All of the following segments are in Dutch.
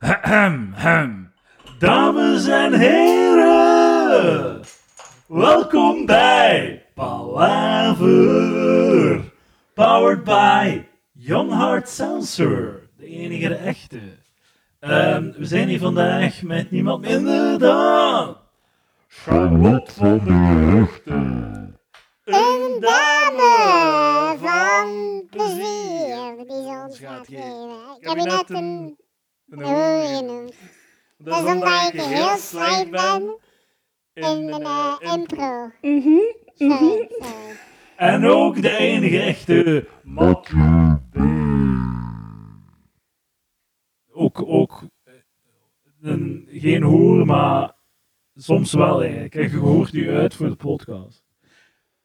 Ahem, ahem. Dames en heren, welkom bij Palaver. Powered by Jan Hart Sensor, de enige de echte. Ehm, we zijn hier vandaag met niemand minder dan Charlotte van de Hechten. een dame van plezier die ze ons gaat gaat geven. geven. Ik heb je net Kabinetten. een Een euro hoer genoemd. genoemd. Dat is omdat ik heel slecht ben in mijn eh, uh, impro. Sorry, sorry. En ook de enige echte Mat. Matthew B. Ook, ook eh, een, geen hoer, maar soms wel eigenlijk. En je hoort u uit voor de podcast.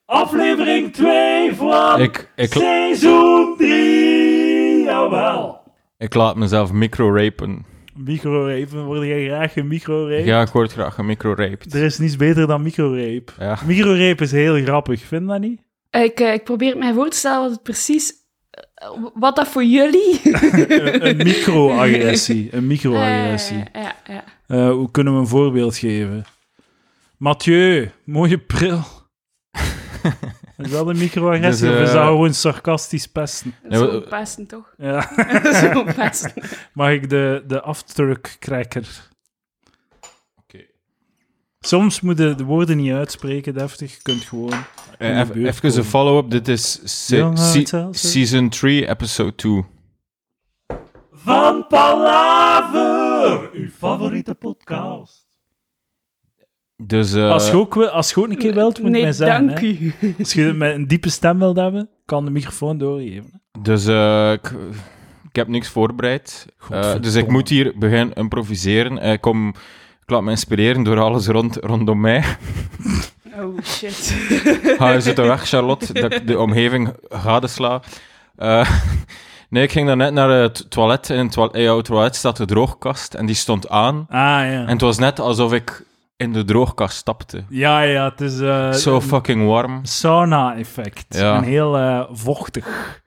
Aflevering 2 van Ik, ik, seizoen 3. Jawel. ik laat mezelf microrapen. Microrape, word jij graag een microrape? Ja, ik word graag gemicroraped. Er is niets beter dan microrape. Ja. Microrape is heel grappig, vind je dat niet? Ik, eh, ik probeer het mij voor te stellen wat het precies... eh, Wat dat voor jullie... een een microagressie. Een microagressie. Eh, ja, ja. Eh, hoe kunnen we een voorbeeld geven? Mathieu, mooie pril. Is dat een microagressie Dus, of is eh, dat gewoon sarcastisch pesten? Nee, Zo we- pesten, toch? Ja. Zo pesten. Mag ik de, de afdrukkrekker? Oké. Soms moeten de woorden niet uitspreken, deftig. Je kunt gewoon... Eh, eff- de buurt even een komen. follow-up. Dit is se- Young se- Hearts Elsewhere. season 3, episode 2. Van Palaver, uw favoriete podcast. Dus eh, Als je ook, wil- als je ook een keer wilt, moet je nee, mij zeggen. dank hè. u. Als je met een diepe stem wilt hebben, kan de microfoon doorgeven. dus eh, ik, ik heb niks voorbereid. Eh, dus ik moet hier beginnen improviseren. Eh, ik, kom, ik laat me inspireren door alles rond, rondom mij. Oh, shit. Ga ze de weg, Charlotte, dat ik de omgeving gadesla. Eh nee, ik ging daarnet naar het toilet. In, het toilet, in jouw toilet staat de droogkast en die stond aan. Ah, ja. En het was net alsof ik in de droogkast stapte. Ja, ja, het is... eh, Zo fucking warm. sauna-effect. Ja. En heel eh, vochtig.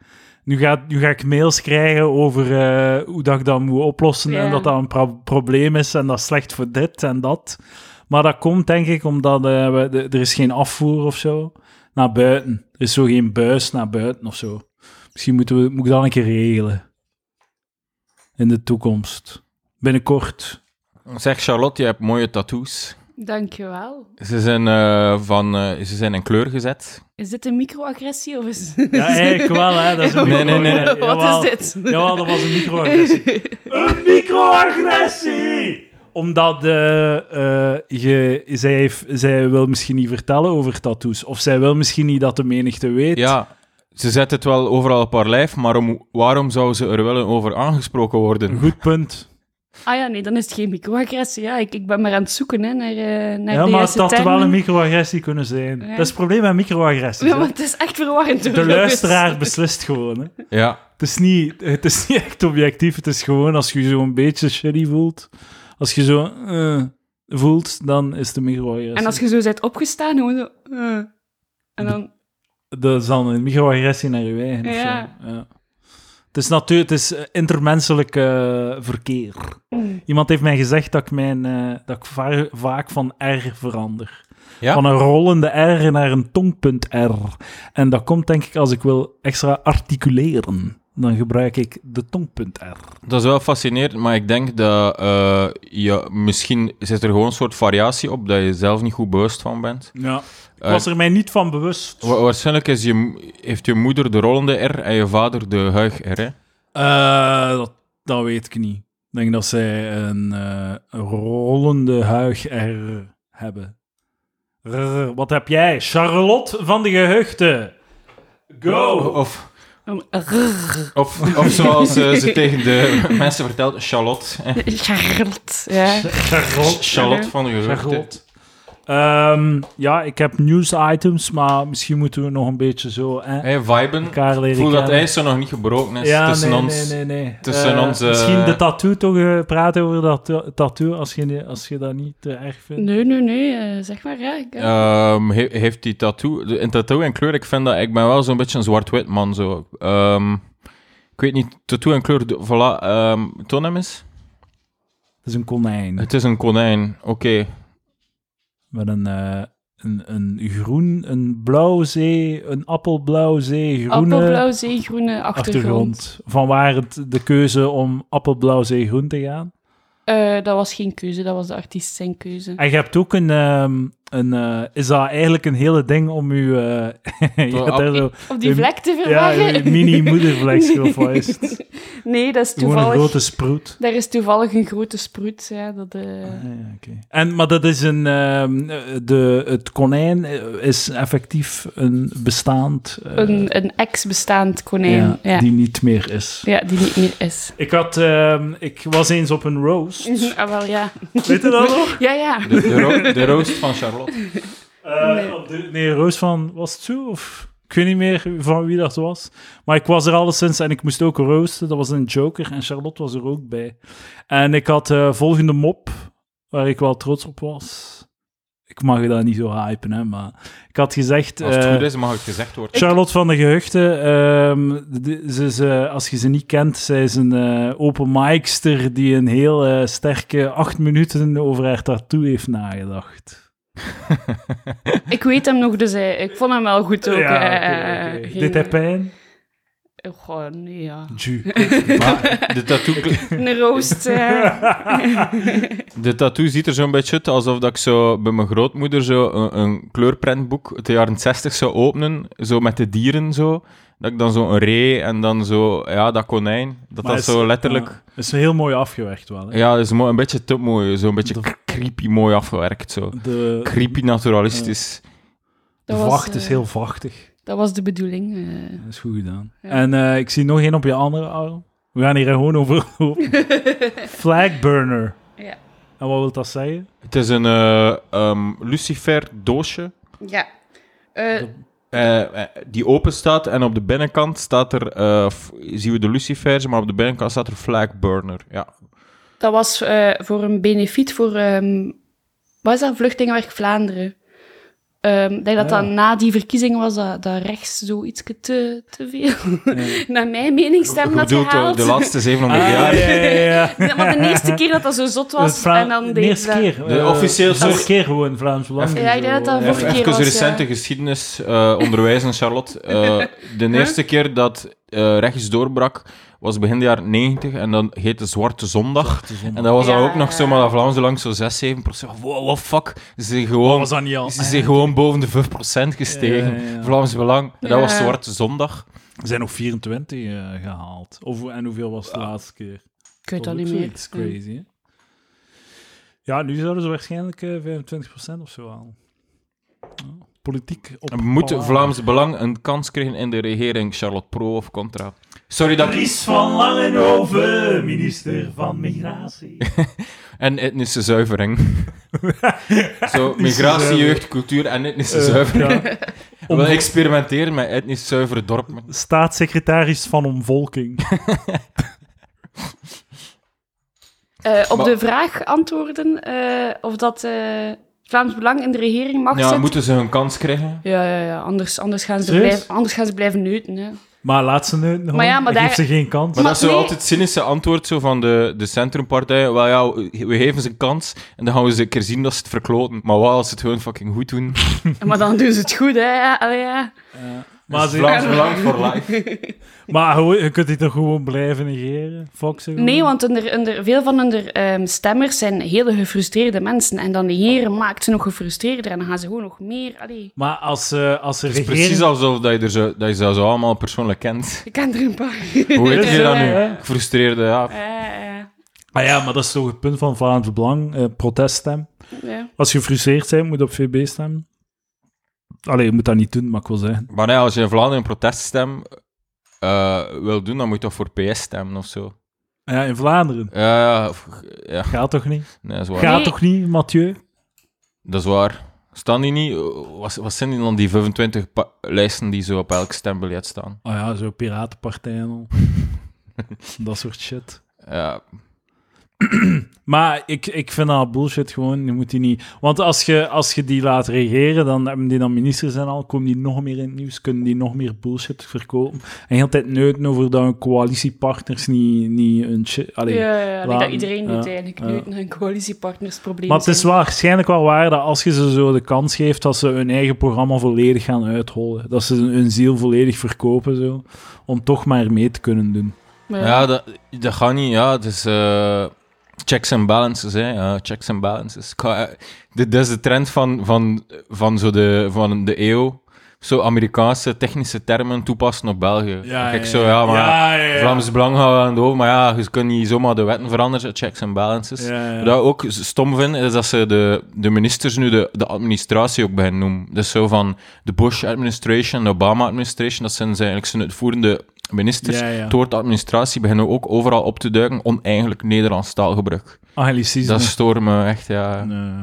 Nu ga, nu ga ik mails krijgen over eh, hoe dat ik dat moet oplossen en Ja. dat dat een pro- probleem is en dat is slecht voor dit en dat. Maar dat komt denk ik omdat eh, we, de- er is geen afvoer of zo naar buiten. Er is zo geen buis naar buiten of zo. Misschien moeten we, moet ik dat een keer regelen. In de toekomst. Binnenkort. Zeg Charlotte, je hebt mooie tattoos. Dankjewel. Ze zijn, eh, van, eh, ze zijn in kleur gezet. Is dit een microagressie of is... Ja, eigenlijk wel, hè. Dat is een Nee, nee, nee, nee. micro- Wat is dit? Jawel, dat was een microagressie. een microagressie! Omdat eh, eh, je, zij, heeft- zij wil misschien niet vertellen over tattoos. Of zij wil misschien niet dat de menigte weet. Ja, ze zet het wel overal op haar lijf, maar om- waarom zou ze er wel over aangesproken Een worden? goed punt. Ah ja, nee, dan is het geen microagressie. Ja, ik, ik ben maar aan het zoeken hè, naar, eh naar ja, maar de het juiste had termen. wel een microagressie kunnen zijn. Ja. Dat is het probleem met microagressies. Ja, hè. maar het is echt verwarrend. hoor, de jongens. luisteraar beslist gewoon. Hè. Ja, Het, is niet, het is niet echt objectief. Het is gewoon als je je zo'n beetje shitty voelt. Als je zo eh, voelt, dan is het een microagressie. En als je zo bent opgestaan, gewoon zo... eh. en dan... Dat is dan een microagressie naar je eigen. of Ja. zo. Ja. Het is natuurlijk het is eh, intermenselijk eh, verkeer. Iemand heeft mij gezegd dat ik, mijn, eh, dat ik va- vaak van R verander. Ja? Van een rollende R naar een tongpunt R. En dat komt denk ik als ik wil extra articuleren. Dan gebruik ik de tongpunt R. dat is wel fascinerend, maar ik denk dat eh, je, misschien zit er gewoon een soort variatie op dat je zelf niet goed bewust van bent. Ja. Ik Eh, was er mij niet van bewust. wa- waarschijnlijk is je, m- heeft je moeder de rollende R en je vader de huig R. Hè? Eh, dat, dat weet ik niet. Ik denk dat zij een eh, een rollende huig R hebben. Rrr, wat heb jij? Charlotte van de Geheugden. Go! Of dan rrr. Of, of zoals eh, ze tegen de mensen vertelt, Charlotte. Eh, Gerrit, ja. Charlotte. Charlotte van de geruchten. Charlotte. Ehm, ja, ik heb news items, maar misschien moeten we nog een beetje zo eh, Hey, viben. elkaar Ik leren voel dat kennen. ijs er nog niet gebroken is ja, tussen nee, ons. nee, nee, nee. tussen Eh, ons, eh, Misschien de tattoo toch eh, praten over dat ta- tattoo, als je, als je dat niet te erg vindt. Nee, nee, nee, eh, zeg maar. Ja, ik, eh, Ehm, he- heeft die tattoo... de- Een tattoo en kleur, ik vind dat... Ik ben wel zo'n beetje een zwart-wit man, zo. Ehm, ik weet niet, tattoo en kleur... de- Voilà, ehm toon hem eens. Het is een konijn. Het is een konijn, oké. Met een, eh, een, een groen, een blauw zee, een appelblauw zee, groene Appelblauw, zeegroene achtergrond. achtergrond. Van waar het de keuze om appelblauw zee groen te gaan. Eh, dat was geen keuze, dat was de artiest zijn keuze. En je hebt ook een... ehm, een eh, is dat eigenlijk een hele ding om je... eh ja, ap- daar zo, Om die Een- vlek te ja, verbergen? je mini-moedervlek of wat is het? nee, dat is Gewoon een toevallig. grote sproet. Daar is toevallig een grote sproet. Ja, dat, eh, Ah, ja, oké. En, maar dat is een. ehm, de, het konijn eh, is effectief een bestaand. eh, een, een ex-bestaand konijn. ja, Ja, ja. Die... Die niet meer is. niet meer is. Ik, had, ehm, ik was eens op een roast. ah, wel, ja. Weet je dat nog? Ja, ja. De, de, ro- de roost van Charlotte. Eh, Nee. op de- nee, roast van. Was het zo? Of, ik weet niet meer van wie dat was. Maar ik was er alleszins en ik moest ook roosten. Dat was een joker en Charlotte was er ook bij. En ik had eh volgende mop, waar ik wel trots op was. Ik mag dat niet zo hypen, hè, maar ik had gezegd... Als het eh, goed is, mag het gezegd worden. Charlotte van de Gehuchten, ehm, de- ze is, eh, als je ze niet kent, zij is een eh, open micster die een heel eh, sterke acht minuten over haar tattoo heeft nagedacht. Ik weet hem nog, dus eh, ik vond hem wel goed ook. Ja, eh, oké, eh, oké. geen- Oh, Deed hij pijn? Goh, nee, ja. Ju. Maar de tattoo, Een roost. eh. de tattoo ziet er zo'n beetje uit alsof dat ik zo bij mijn grootmoeder zo een, een kleurprentboek uit de jaren 60 zou openen. Zo met de dieren zo. Dat ik dan zo een ree en dan zo, ja, dat konijn. Dat Maar dat is- zo letterlijk. Ja, is heel mooi afgewerkt wel. Hè? Ja, dat is mo- een beetje te mooi. Zo'n beetje De- creepy mooi afgewerkt. Zo. De, Creepy naturalistisch. de Dat was, vacht is eh, heel vachtig. Dat was de bedoeling. eh. Dat is goed gedaan. Ja. En eh, ik zie nog één op je andere arm. We gaan hier gewoon over lopen. Flagburner. Ja. En wat wil dat zeggen? Het is een eh, ehm, lucifer doosje. Ja. Eh, eh, eh, die open staat en op de binnenkant staat er, eh, f- zien we de lucifers, maar op de binnenkant staat er flag burner. Ja. dat was eh, voor een benefiet voor... ehm wat is dat? Vluchtelingenwerk Vlaanderen. Ehm, Ik denk dat dat Ah. na die verkiezing was dat, dat rechts zoiets te, te veel, Eh, naar mijn mening, stem had bedoelt eh, de, gehaald. de laatste 700 ah, jaar. ja, ja, ja. Ja, maar de eerste keer dat dat zo zot Het was, Vla- en dan de deed eerste dat. keer. De eh, officieel- de eerste keer gewoon Vlaams Belang. Ja, ik denk dat dat eh, vorige Even, keer even was, ja. recente geschiedenis eh, onderwijzen, Charlotte. Eh, de eerste keer dat eh rechts doorbrak was begin de jaren 90 en dan heette Zwarte Zondag. Mm. En dat was dan Ja. ook nog zomaar dat Vlaams lang zo 6, 7 procent. Wow, what fuck. Ze zijn gewoon, was dat niet al. Eh, ze zijn gewoon boven de 5 gestegen. Ja, ja, ja. Vlaams Belang. En dat was Ja. Zwarte Zondag. Er zijn nog 24 eh, gehaald. Of, en hoeveel was de laatste keer? Ik weet dat was niet ook meer. zoiets crazy, hè? Ja, nu zouden ze waarschijnlijk eh 25% of zo halen. Ja, Politiek op... Moet Palaver. Vlaams Belang een kans krijgen in de regering, Charlotte Pro of Contra? Sorry dat ik... Dries van Langenhoven, minister van Migratie. En etnische zuivering. Zo, migratie, zuivering. jeugd, cultuur en etnische Eh, zuivering. ja. We willen experimenteren met etnisch zuivere dorpen. Staatssecretaris van Omvolking. Eh, op Maar- de vraag antwoorden eh, of dat eh, Vlaams Belang in de regering mag Ja, zitten. moeten ze een kans krijgen? Ja, ja, ja. Anders, anders, gaan ze Serieus? blijven, anders gaan ze blijven neuten. Hè. Maar laat ze nu nog. Maar ja, maar geeft daar- ze geen kans. Maar, Maar dat is zo nee. altijd het cynische antwoord zo van de, de centrumpartijen. Wel ja, we we geven ze een kans en dan gaan we ze een keer zien dat ze het verkloten. Maar wat als ze het gewoon fucking goed doen? Maar dan doen ze het goed, hè. Ja, allee, ja. maar, Dus ze- Vlaams Belang voor life. maar gewoon- je kunt die toch gewoon blijven negeren? Fox ze gewoon? Nee, want onder, onder, veel van hun ehm, stemmers zijn hele gefrustreerde mensen. En dan de heren maakt ze nog gefrustreerder. En dan gaan ze gewoon nog meer... Allee, Maar als, eh als de Het is regering... precies alsof dat je, er zo, dat je ze zo allemaal persoonlijk kent. ik ken er een paar. Hoe heet je dat nu? Ja. Gefrustreerde, ja. Eh, eh, Maar ja, maar dat is toch het punt van Vlaams Belang, eh, proteststem. ja. Als je gefrustreerd bent, moet je op VB stemmen. Allee, je moet dat niet doen, maar ik wil zeggen. Maar nee, als je in Vlaanderen een proteststem eh, wil doen, dan moet je toch voor PS stemmen of zo. Ja, in Vlaanderen. Ja, ja, of- ja. Gaat toch niet? Nee, dat is waar. Gaat Nee. toch niet, Mathieu? Dat is waar. Staan die niet? Wat, wat zijn die dan die 25 pa- lijsten die zo op elk stembiljet staan? Oh ja, zo piratenpartijen al. dat soort shit. Ja, Maar ik, ik vind dat bullshit gewoon. Je moet die niet... Want als je, als je die laat regeren, dan hebben die dan ministers en al, komen die nog meer in het nieuws, kunnen die nog meer bullshit verkopen. En heel de tijd neuten over dat hun coalitiepartners niet, niet hun shit... Allee, Ja, ja, ja, laten. dat iedereen eh, doet Ja, eigenlijk. ja. Nu hun coalitiepartners probleem Maar het is zijn. wel waarschijnlijk wel waar dat als je ze zo de kans geeft dat ze hun eigen programma volledig gaan uithollen. Dat ze hun ziel volledig verkopen, zo. Om toch maar mee te kunnen doen. Maar Ja, dat, dat gaat niet. Ja, het is eh, checks and balances. Hè. Ja, checks and balances. Ik ga, eh, dit is de trend van, van, van, zo de, van de eeuw. Zo Amerikaanse technische termen toepassen op België. Dan kijk, zo, ja, maar Vlaams Belang gaan we aan de over, maar ja, je kunt niet zomaar de wetten veranderen, checks en balances. Ja, ja. Wat ik Ah, ook stom vind, is dat ze de, de ministers nu de, de administratie ook beginnen noemen. Dus zo van de Bush-administration, de Obama-administration, dat zijn ze eigenlijk zijn uitvoerende ministers. Ja, ja. Het woord administratie beginnen ook overal op te duiken, oneigenlijk Nederlands taalgebruik. Ah, Anglicisme. Dat stoort me echt, ja. Ja.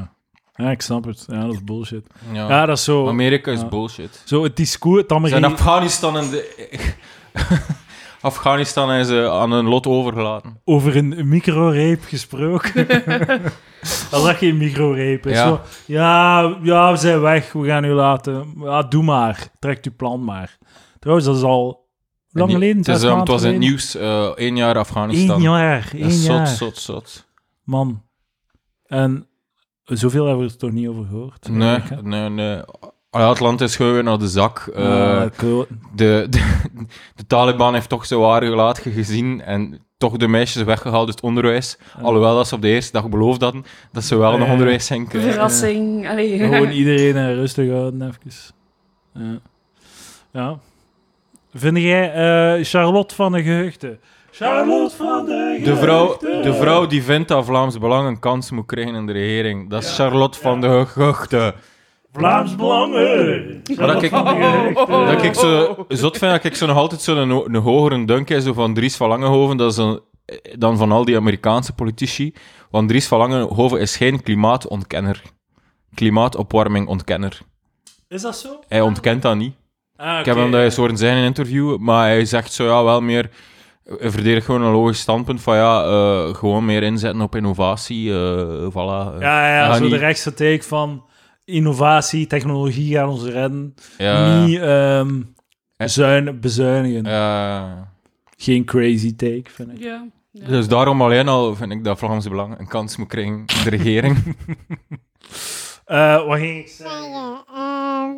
eh, ja, ik snap het. Ja, dat is bullshit. ja. Ja, dat is zo. Amerika is Ja. bullshit. Zo het discours, het Zijn Amerika. Afghanistan en de... Afghanistan is eh, aan hun lot overgelaten. Over een microreep gesproken. dat dat geen microreep is. Ja. Zo, ja, ja, we zijn weg. We gaan u laten. Ja, doe maar. Trek uw plan maar. Trouwens, dat is al lang Het nie- geleden. Het, is, zes um, het maanden was in het geleden. nieuws, eh één jaar Afghanistan. Eén jaar. Dat is Één jaar. Zot, zot, zot. Man. En zoveel hebben we er toch niet over gehoord? Nee, nee, nee. Ah ja, het land is gewoon weer naar de zak. Eh, Eh, kloten. de, de, de Taliban heeft toch zijn ware gelaat gezien en toch de meisjes weggehaald uit het onderwijs. Alhoewel dat ze op de eerste dag beloofd hadden dat ze wel nog Eh. onderwijs zijn krijgen. Verrassing. allee. Gewoon iedereen eh, rustig houden, even. Ja. ja. Vind jij eh, Charlotte van de Geheugden? Charlotte van de Geheugden! De vrouw, de vrouw die vindt dat Vlaams Belang een kans moet krijgen in de regering, dat is Charlotte van de Geugde. Vlaams Belangen! Oh, Maar dat ik, dat ik zo zot vind, dat ik zo nog altijd zo'n ho- een hogere dunk heb, zo van Dries van Langenhoven, dat is een, eh, dan van al die Amerikaanse politici. Want Dries van Langenhoven is geen klimaatontkenner. Klimaatopwarmingontkenner. Is dat zo? Hij ontkent dat niet. Ah, Ik heb hem dat eens horen zeggen in een interview, maar hij zegt zo ja, wel meer... Hij verdedigt gewoon een logisch standpunt van ja, eh, gewoon meer inzetten op innovatie, eh voilà. eh. Ja, ja, Ga zo niet- de rechtse take van innovatie, technologie gaan ons redden. Ja, Niet ehm, Eh. zuin- bezuinigen. ja. Geen crazy take, vind ik. Ja. ja. Dus daarom alleen al vind ik dat Vlaams Belang een kans moet krijgen in de regering. Eh, wat ging ik zeggen? zeggen, ehm,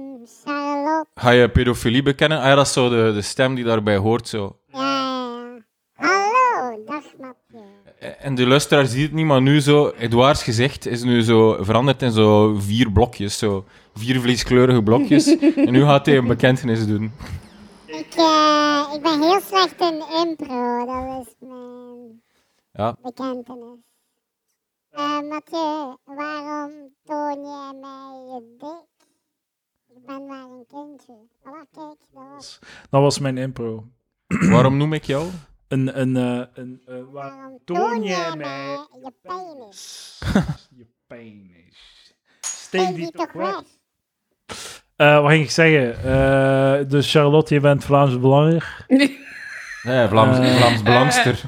Charlotte, Ga je pedofilie bekennen? Ah ja, dat is zo de, de stem die daarbij hoort. Zo. uh, ja. Hallo, dag Matje. En de luisteraar ziet het niet, maar nu zo... Edouards gezicht is nu zo veranderd in zo vier blokjes. Zo. Vier vleeskleurige blokjes. en nu gaat hij een bekentenis doen. Ik, eh, ik ben heel slecht in impro, dat is mijn Ja. bekentenis. Eh Mathieu, waarom toon jij mij je dik? Ik ben maar een kindje. Oh, kijk, dat was Dat was mijn impro. Waarom noem ik jou? Een, een, eh, een, eh, waar- waarom toon jij mij je penis? Je penis. Steek die toch weg? wat ging ik zeggen? Eh, dus Charlotte, je bent Vlaams belangrijk. Nee, Vlaams, Vlaams Belangster.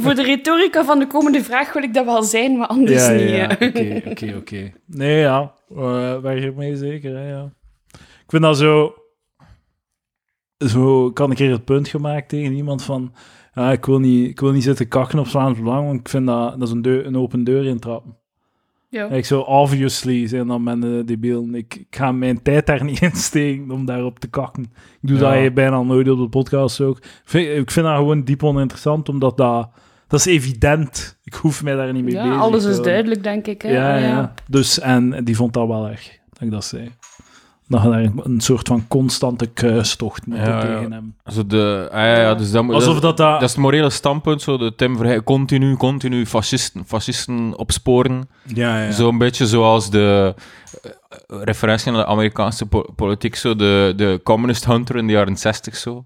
Voor de retorica van de komende vraag wil ik dat wel zijn, maar Dus anders niet. ja. eh. hè. Oké, oké, oké. Nee, ja. Eh wij hiermee zeker, hè, ja. Ik vind dat zo... Zo kan ik hier het punt gemaakt tegen iemand van... ja, ik, wil niet, ik wil niet zitten kakken op Vlaams Belang, want ik vind dat, dat is een, deur, een open deur intrappen. Ja. Ik zo, obviously zijn dan mensen debielen. eh, Ik, ik ga mijn tijd daar niet in steken om daarop te kakken. Ik doe Ja. dat hier bijna nooit op de podcast ook. Ik vind, ik vind dat gewoon diep oninteressant, omdat dat, dat is evident. Ik hoef mij daar niet mee Ja, bezig alles te is houden. duidelijk, denk ik. Hè? Ja, ja. Dus, en die vond dat wel erg, dat ik dat zei. Dat je daar een soort van constante kruistocht moet Ja, doen ja. tegen hem. Zo de, ah ja, ja, dus dat, moet- Alsof dat, dat dat... dat is het morele standpunt. Zo de Tim Verheij, continu, continu fascisten, fascisten opsporen. ja, ja. Zo'n beetje zoals de eh, referentie naar de Amerikaanse po- politiek, zo de, de communist hunter in de jaren 60 zo.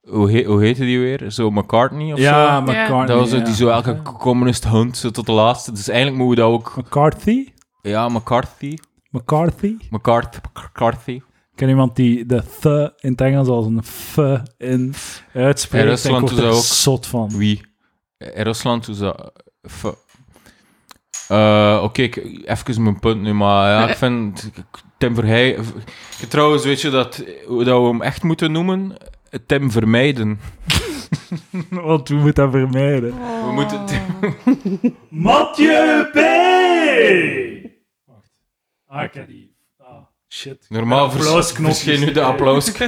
Hoe, he, hoe heette die weer? Zo McCartney of ja, zo? McCartney. Dat was het, ja. die zo elke communist hunt zo tot de laatste. Dus eigenlijk moeten we dat ook... McCarthy? Ja, McCarthy. McCarthy? McCart, McCarthy. Ik ken iemand die de th in het Engels als een f in uitspreekt. Ja, Rusland en ik word doet er dat ook. zot van. Wie? in Rusland doen ze dat. F- Eh, Oké, ik- even mijn punt nu, maar ja, ik vind Tim Verheij... v- Trouwens, weet je dat, hoe dat we hem echt moeten noemen? Tim Vermijden. Want we moeten dat vermijden. We moeten Oh. Tim- Mathieu P! Wacht. Ah, ik heb die. Ah, shit. Normaal vers- Applausknopjes. verscheen nu de applaus.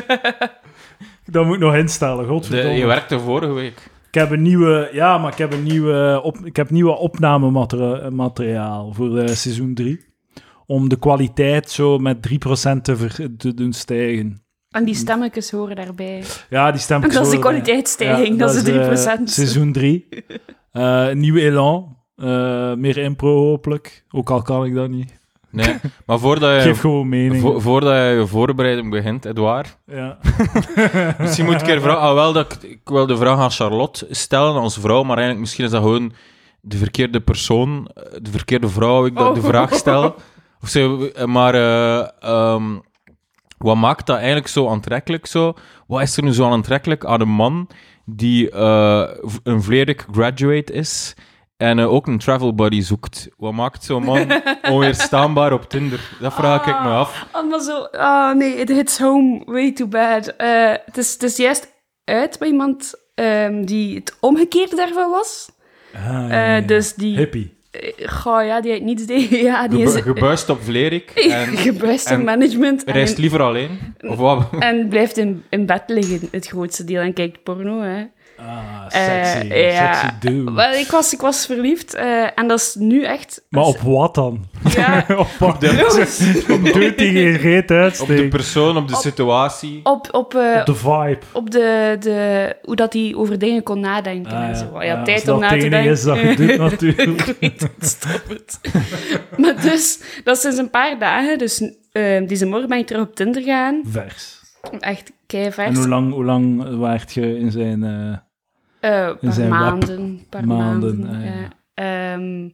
Dat moet ik nog instellen, De, godverdomme. je werkte vorige week. Ik heb een nieuwe, ja, maar ik heb een nieuwe, op, ik heb nieuwe opnamemateriaal voor eh, seizoen 3. Om de kwaliteit zo met 3% te, ver- te doen stijgen. En die stemmetjes horen daarbij. Ja, die stem Dat is de horen, ja. kwaliteitsstijging, Ja, dat, is eh, de 3%. seizoen 3. nieuw elan. Eh, meer impro, hopelijk. Ook al kan ik dat niet. Nee, maar voordat je, Geef gewoon mening. vo- voordat je je voorbereiding begint, Edouard, ja. Misschien moet ik er vragen. Ah, wel, dat ik, ik wil de vraag aan Charlotte stellen als vrouw, maar eigenlijk misschien is dat gewoon de verkeerde persoon, eh, de verkeerde vrouw, ik dat de Oh. vraag stel. Of ze, maar eh, ehm, wat maakt dat eigenlijk zo aantrekkelijk? Zo? Wat is er nu zo aantrekkelijk aan een man die eh, v- een volledig graduate is en eh, ook een travel buddy zoekt? Wat maakt zo'n man onweerstaanbaar op Tinder? Dat vraag ik me af. Oh, maar zo... Oh nee, it hits home way too bad. Eh, het, is, het is juist uit bij iemand ehm, die het omgekeerde daarvan was. Ah, ja, Eh, ja, ja. Dus die... Hippie. eh, goh, ja, die uit niets deed. Ja, die Gebu- is... gebuist op Vlerik en Gebuist en in management. en reist in- liever alleen? Of wat? En blijft in, in bed liggen, het grootste deel, en kijkt porno, hè. Ah, Eh, sexy. ja. Sexy dude. Wel, ik was, ik was verliefd, eh, en dat is nu echt... Maar op wat dan? Ja, op wat? jongens, Op dude die geen reet Op de uitsteekt. persoon, op de situatie. op, op, eh, Op de vibe. op de, de, hoe dat hij over dingen kon nadenken Ah, en zo. Hij ja, had als tijd dat om na het te enige denken. is dat je doet, natuurlijk. ik weet het, stop het. maar dus, dat is sinds een paar dagen. Dus eh, deze morgen ben ik terug op Tinder gaan. Vers. Echt En keivers. hoe lang, hoe lang waart je in zijn... eh, Eh, een In paar zijn web. maanden. paar Maanden, maanden, ah, ja. ja. Ehm,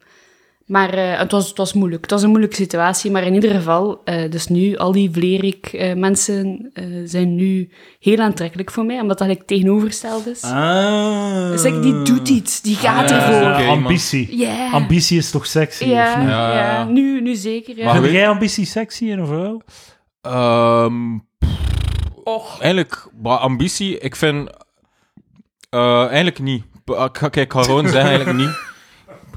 maar eh, het, was, het was moeilijk. Het was een moeilijke situatie, maar in ieder geval, eh, dus nu, al die Vlerik-mensen eh, zijn nu heel aantrekkelijk voor mij, omdat dat ik tegenovergesteld is. Ah. Dus ik, die doet iets, die gaat Ah, ervoor. oké, man. ambitie. Ja. Ambitie is toch sexy? Eh. Ja, Of niet? Ja, ja, ja. Nu, nu zeker. Ja. Maar Vind weet- jij ambitie sexy in een vrouw? Ehm, pff, Eigenlijk, bah, ambitie, ik vind... eh, eigenlijk niet. B- Ik ga, kijk, ik ga gewoon zeggen, eigenlijk niet.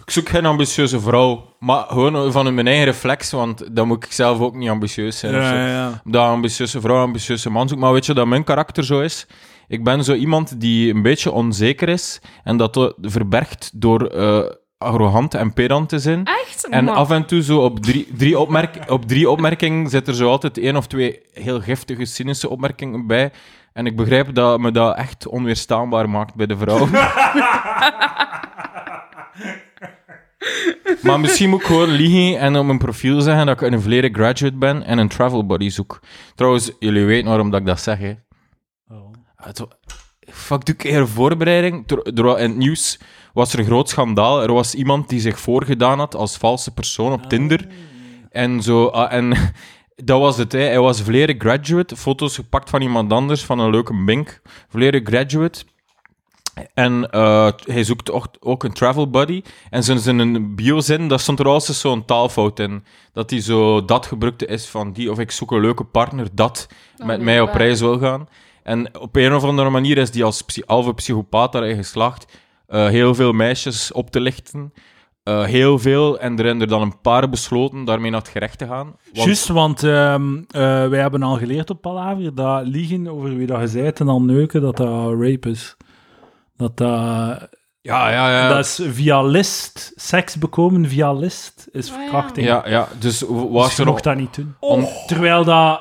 Ik zoek geen ambitieuze vrouw. Maar gewoon van mijn eigen reflex, want dan moet ik zelf ook niet ambitieus zijn. of zo. ja. dat een ambitieuze vrouw, een ambitieuze man zoekt. Maar weet je dat mijn karakter zo is? Ik ben zo iemand die een beetje onzeker is en dat eh, verbergt door eh, arrogant en pedant te zijn. Echt? En Maar- af en toe zo op drie, drie, opmerk, op drie opmerkingen zit er zo altijd één of twee heel giftige, cynische opmerkingen bij. En ik begrijp dat me dat echt onweerstaanbaar maakt bij de vrouw. maar misschien moet ik gewoon liegen en op mijn profiel zeggen dat ik een volledig graduate ben en een travel buddy zoek. Trouwens, jullie weten waarom dat ik dat zeg, hè. Het wa- Fuck, doe ik keer voorbereiding. Er- er wa- in het nieuws was er een groot schandaal. Er was iemand die zich voorgedaan had als valse persoon op Tinder. En zo... ah, en dat was het, hè. Hij was volledig graduate. Foto's gepakt van iemand anders, van een leuke bink. Volledig graduate. En eh, hij zoekt ook, ook een travel buddy. En zijn, zijn biozin, daar stond er altijd zo'n taalfout in. Dat hij zo dat gebruikte is van die, of ik zoek een leuke partner dat met Oh, nee, mij op waar. reis wil gaan. En op een of andere manier is die als psy- halve psychopaat daarin geslaagd eh, heel veel meisjes op te lichten. Eh, heel veel. En er zijn er dan een paar besloten daarmee naar het gerecht te gaan. Want- Juist, want ehm, eh, wij hebben al geleerd op Palaver dat liegen over wie dat je zijt en dan neuken, dat dat rape is. Dat dat... ja, ja, ja. Dat is via list. Seks bekomen via list is Oh, ja. verkrachting. ja, ja. Dus w- was Dus je er nog... mocht dat niet doen. Oh. Terwijl dat...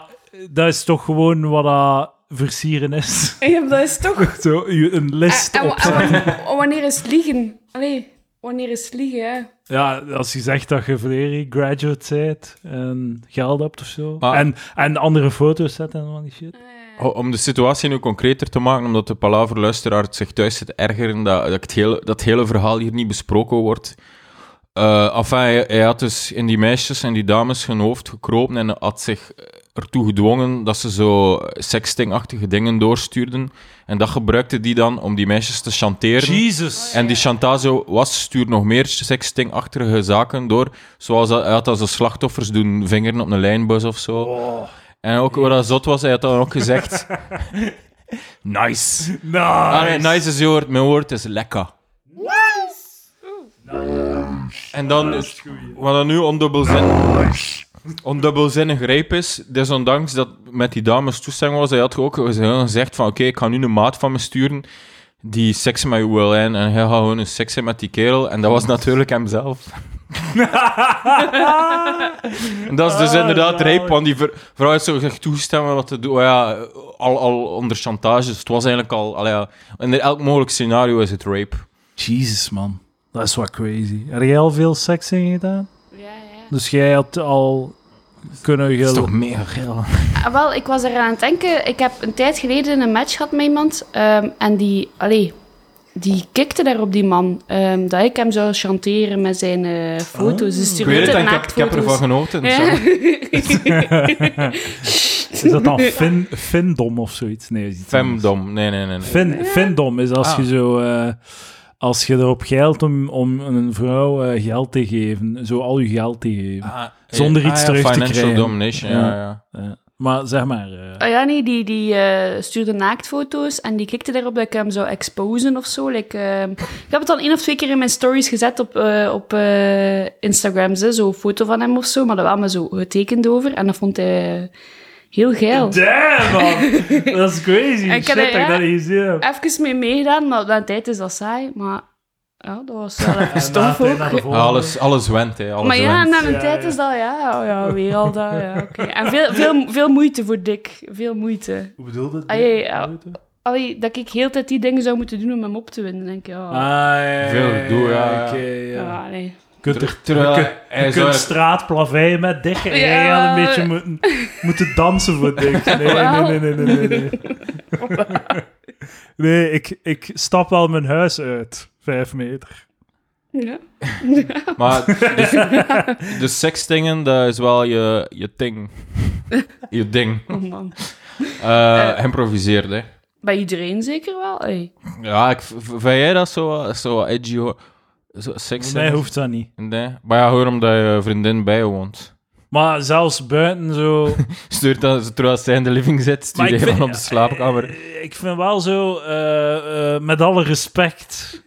Dat is toch gewoon wat dat versieren is. Ja, maar dat is toch... Zo, je- een list Eh, En- en- opzetten. en- en wanneer is het liegen? Allee, wanneer is het liegen, hè? Ja, als je zegt dat je volledig graduate bent en geld hebt of zo. Maar- En, en andere foto's zetten en van die shit. O- Om de situatie nu concreter te maken, omdat de palaverluisteraar zich thuis zit ergeren dat, dat, ik het hele, dat het hele verhaal hier niet besproken wordt. Eh enfin, hij, hij had dus in die meisjes en die dames hun hoofd gekropen en had zich eh, ertoe gedwongen dat ze zo sextingachtige dingen doorstuurden. En dat gebruikte die dan om die meisjes te chanteren. Jesus. En die chantage was, stuur nog meer sextingachtige zaken door. Zoals dat, hij had dan zo slachtoffers doen vingeren op een lijnbus of zo. En ook wat dat zot was, hij had dan ook gezegd... nice. Nice. Ah, nee, nice is je woord. Mijn woord is lekker. En dan, is- wat dan nu ondubbelzinnig, ondubbelzinnig rijp is, desondanks dat met die dames toestemming was, hij had ook gezegd van, oké, ik ga nu een maat van me sturen die seks met je wil hebben en hij gaat gewoon een seks hebben met die kerel. En dat was natuurlijk hemzelf. en dat is dus Ah, inderdaad zalig. rijp, want die ver- vrouw heeft zo gezegd toegestemd om wat te doen. Oh ja, al, al onder chantage, dus het was eigenlijk al... al ja, in elk mogelijk scenario is het rape. Jesus, man. Dat is wat crazy. Heb jij al veel seks in gedaan? Ja, ja. Dus jij had al kunnen... Dat is gel- toch mega geil. Ah, wel, ik was eraan aan het denken. Ik heb een tijd geleden een match gehad met iemand. ehm, en die, allee, die kikte daar op die man. ehm, dat ik hem zou chanteren met zijn eh, foto's. Dus Ik weet het, en ik heb, ik heb ervan naaktfoto's. genoten. Ja. zo. Is dat dan fin, findom of zoiets? Nee, dat is iets anders. Femdom, nee, nee, nee. nee. Fin, findom is als Ah. je zo... eh, als je erop geilt om, om een vrouw eh, geld te geven. Zo al je geld te geven. Ah, eh, Zonder ja, iets ja, terug te financial krijgen. domination, ja, Ja. ja. Eh, maar zeg maar... eh, Ah ja, nee, die, die eh, stuurde naaktfoto's en die kikte daarop dat ik hem zou exposen of zo. Like, ehm, ik heb het al één of twee keer in mijn stories gezet op, eh, op eh, Instagram, zo, zo'n foto van hem of zo, maar daar waren we zo getekend over en dat vond hij heel geil. Damn, man. dat is crazy. Ik Shit, ken dat het, ik dat niet gezien heb. Even mee meegedaan, maar na een tijd is dat saai, maar ja, dat was wel even En na- stof na- na de ook. volgende. Ah, Alles, alles went, hè. Alles Maar ja, went. na een Ja, tijd ja. is dat, ja, oh ja, weer al dat, ja, oké. En veel, veel, veel moeite voor Dick, veel moeite. Hoe bedoel dat? Ah, ja, ja. Allee, dat ik heel de tijd die dingen zou moeten doen om hem op te winnen. denk ik, ja. Ah, Veel gedoe, ja, oké, ja, nee. Je kunt, Ter- er, terwijl je kunt- hij je zou- kunt straatplaveien met dikke. en Ja. Jij had een beetje moeten, moeten dansen voor dik. Nee, nee, nee, nee, nee, nee. Nee, nee ik, ik stap wel mijn huis uit. Vijf meter. Ja. nou. Maar dus, de seksdingen, dat is wel je, je ding. Je ding. Oh man. Eh improviseerd, hè. Bij iedereen zeker wel? Hey. Ja, ik, v- v- vind jij dat zo, wat- zo wat edgy, hoor? Zo, Voor seksdingen? mij hoeft dat niet. Nee. Maar ja, hoor, omdat je vriendin bij je woont. Maar zelfs buiten zo... Stuurt dat, terwijl zij in de living zit, Maar stuurt ik hij vind- dan op de slaapkamer. eh, Ik vind wel zo, eh, eh, met alle respect,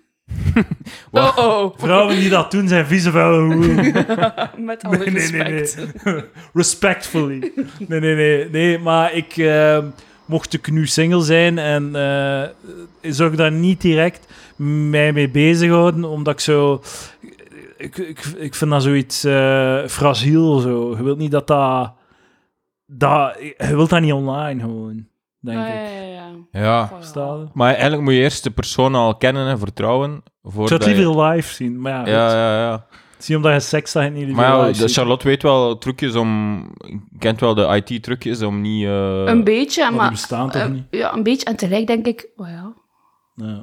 Wat? Oh, oh. vrouwen die dat doen zijn vieze vuile hoeren. Met alle respect. nee. Respectfully. Nee, nee, nee. Nee, maar ik... eh, mocht ik nu single zijn en eh zou ik daar niet direct mij mee bezighouden, omdat ik zo... Ik, ik, ik vind dat zoiets eh fragiel, zo. Je wilt niet dat dat... dat je wilt dat niet online, gewoon. Denk Ah, ik. Ah, ja, ja, ja. Ja. Voilà. Verstaan je? Maar eigenlijk moet je eerst de persoon al kennen en vertrouwen. Ik Voordat zou het liever live zien, maar ja, je- goed. Ja, ja, ja. Zie omdat je seks dat je niet liever Maar ja, live de ziet. Charlotte weet wel trucjes om... Kent wel de IT-trucjes om niet... eh, Een beetje, Maar die maar... bestaan toch eh, niet? ja, een beetje. En tegelijk denk ik, oh ja, Ja.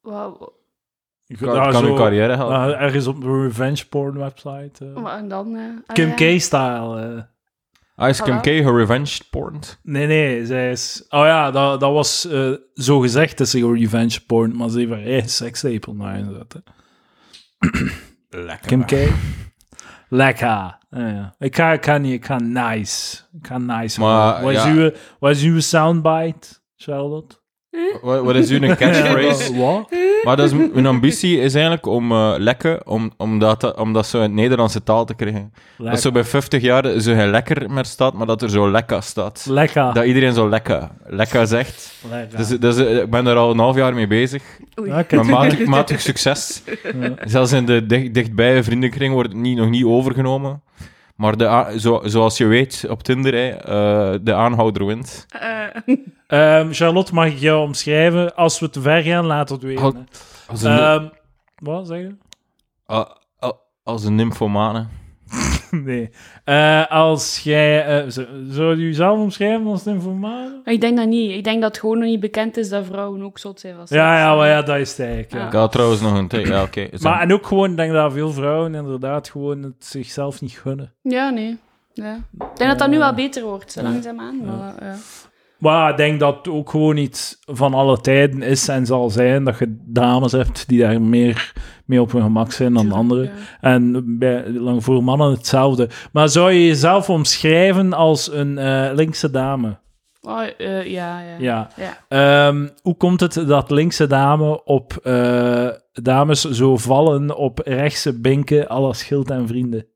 wauw, Ik kan, daar kan zo- uw carrière helpen. daar ergens op de revenge porn website. eh. maar en dan... eh, ah, Kim ja. K-style. eh. Ice Ah, Kim Hallo? K, her revenge porn. Nee, nee, zij is... Oh ja, dat, dat was eh, zo gezegd dat ze gewoon revenge porn, maar ze heeft haar eigen sekstapel naar ingezet. hè. Lekker. Kim K. Lekker. Ja, ja. Ik ga, ik ga niet, ik ga nice. Ik ga nice. Maar, houden. wat, is ja. uw, wat is uw soundbite, Charlotte? Wat wat is uw catchphrase? Wat? maar dat is, m- mijn ambitie is eigenlijk om eh lekker, om, om, dat, te- om dat zo in het Nederlandse taal te krijgen. Dat zo bij 50 jaar zo geen lekker meer staat, maar dat er zo lekker staat. Lekker. Dat iedereen zo lekker, lekker zegt. Lekker. Dus, dus, eh, ik ben daar al een half jaar mee bezig. Oei. Ja, kijk, Maar matig, matig succes. Zelfs in de dicht, dichtbije vriendenkring wordt het niet, nog niet overgenomen. Maar de, a- zo, zoals je weet op Tinder, hè, eh, de aanhouder wint. Eh, Ehm, Charlotte, mag ik jou omschrijven? Als we te ver gaan, laat het weten. Als- hè. Als een, Ehm, wat zeg je? a- a- als een nymphomane. nee. Eh, als jij... eh, z- zou je jezelf omschrijven als een informatie? ik denk dat niet. Ik denk dat het gewoon nog niet bekend is dat vrouwen ook zot zijn van seks. Ja, ja, maar ja, dat is het eigenlijk. ja. Ik had trouwens nog een... te- Ja, oké. Zo- Maar en ook gewoon, ik denk dat veel vrouwen inderdaad gewoon het zichzelf niet gunnen. Ja, nee. Ja. Ik denk dat dat nu wel beter wordt, zo langzaamaan. Maar, ja. Maar ik denk dat het ook gewoon iets van alle tijden is en zal zijn dat je dames hebt die daar meer mee op hun gemak zijn dan anderen. ja. En bij, lang voor mannen hetzelfde. Maar zou je jezelf omschrijven als een eh, linkse dame? Oh, eh, ja, ja. Ja. Ja. Ehm, hoe komt het dat linkse dame op, eh, dames zo vallen op rechtse binken alle schild en vrienden?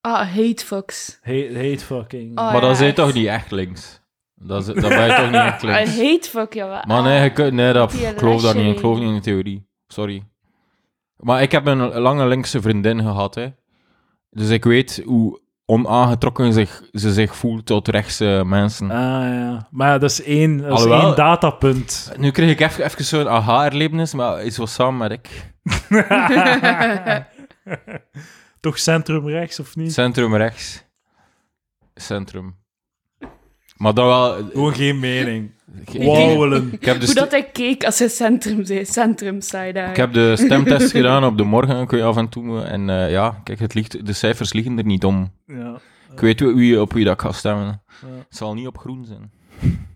Ah, hate fucks. Hate, hate fucking. Oh, maar dan ja, zijn je echt. toch niet echt links? Dat, is- dan ben je toch niet echt Ah, links? hate fuck, jawel. Maar nee, je kunt- nee dat, Die ik geloof dat niet. Ik lasje. geloof niet in de theorie. Sorry. Maar ik heb een lange linkse vriendin gehad, hè. Dus ik weet hoe onaangetrokken zich, ze zich voelt tot rechtse mensen. Ah ja, maar ja, dat is één, dat is Alhoewel- één datapunt. Eh, Nu kreeg ik even, even zo'n aha-erlevenis, maar iets was samen met ik. Toch centrumrechts of niet? Centrum rechts. Centrum. Maar dan wel... Gewoon geen mening. Ik, Wauwelen. ik heb de Hoe st- dat hij keek als hij centrum zei. Centrum, zei daar. Ik heb de stemtest gedaan op de morgen, kun je af en toe. eh, En eh, ja, kijk, het ligt, de cijfers liggen er niet om. Ja. Ik weet wie- wie, op wie dat ik ga stemmen. Ja. Het zal niet op groen zijn.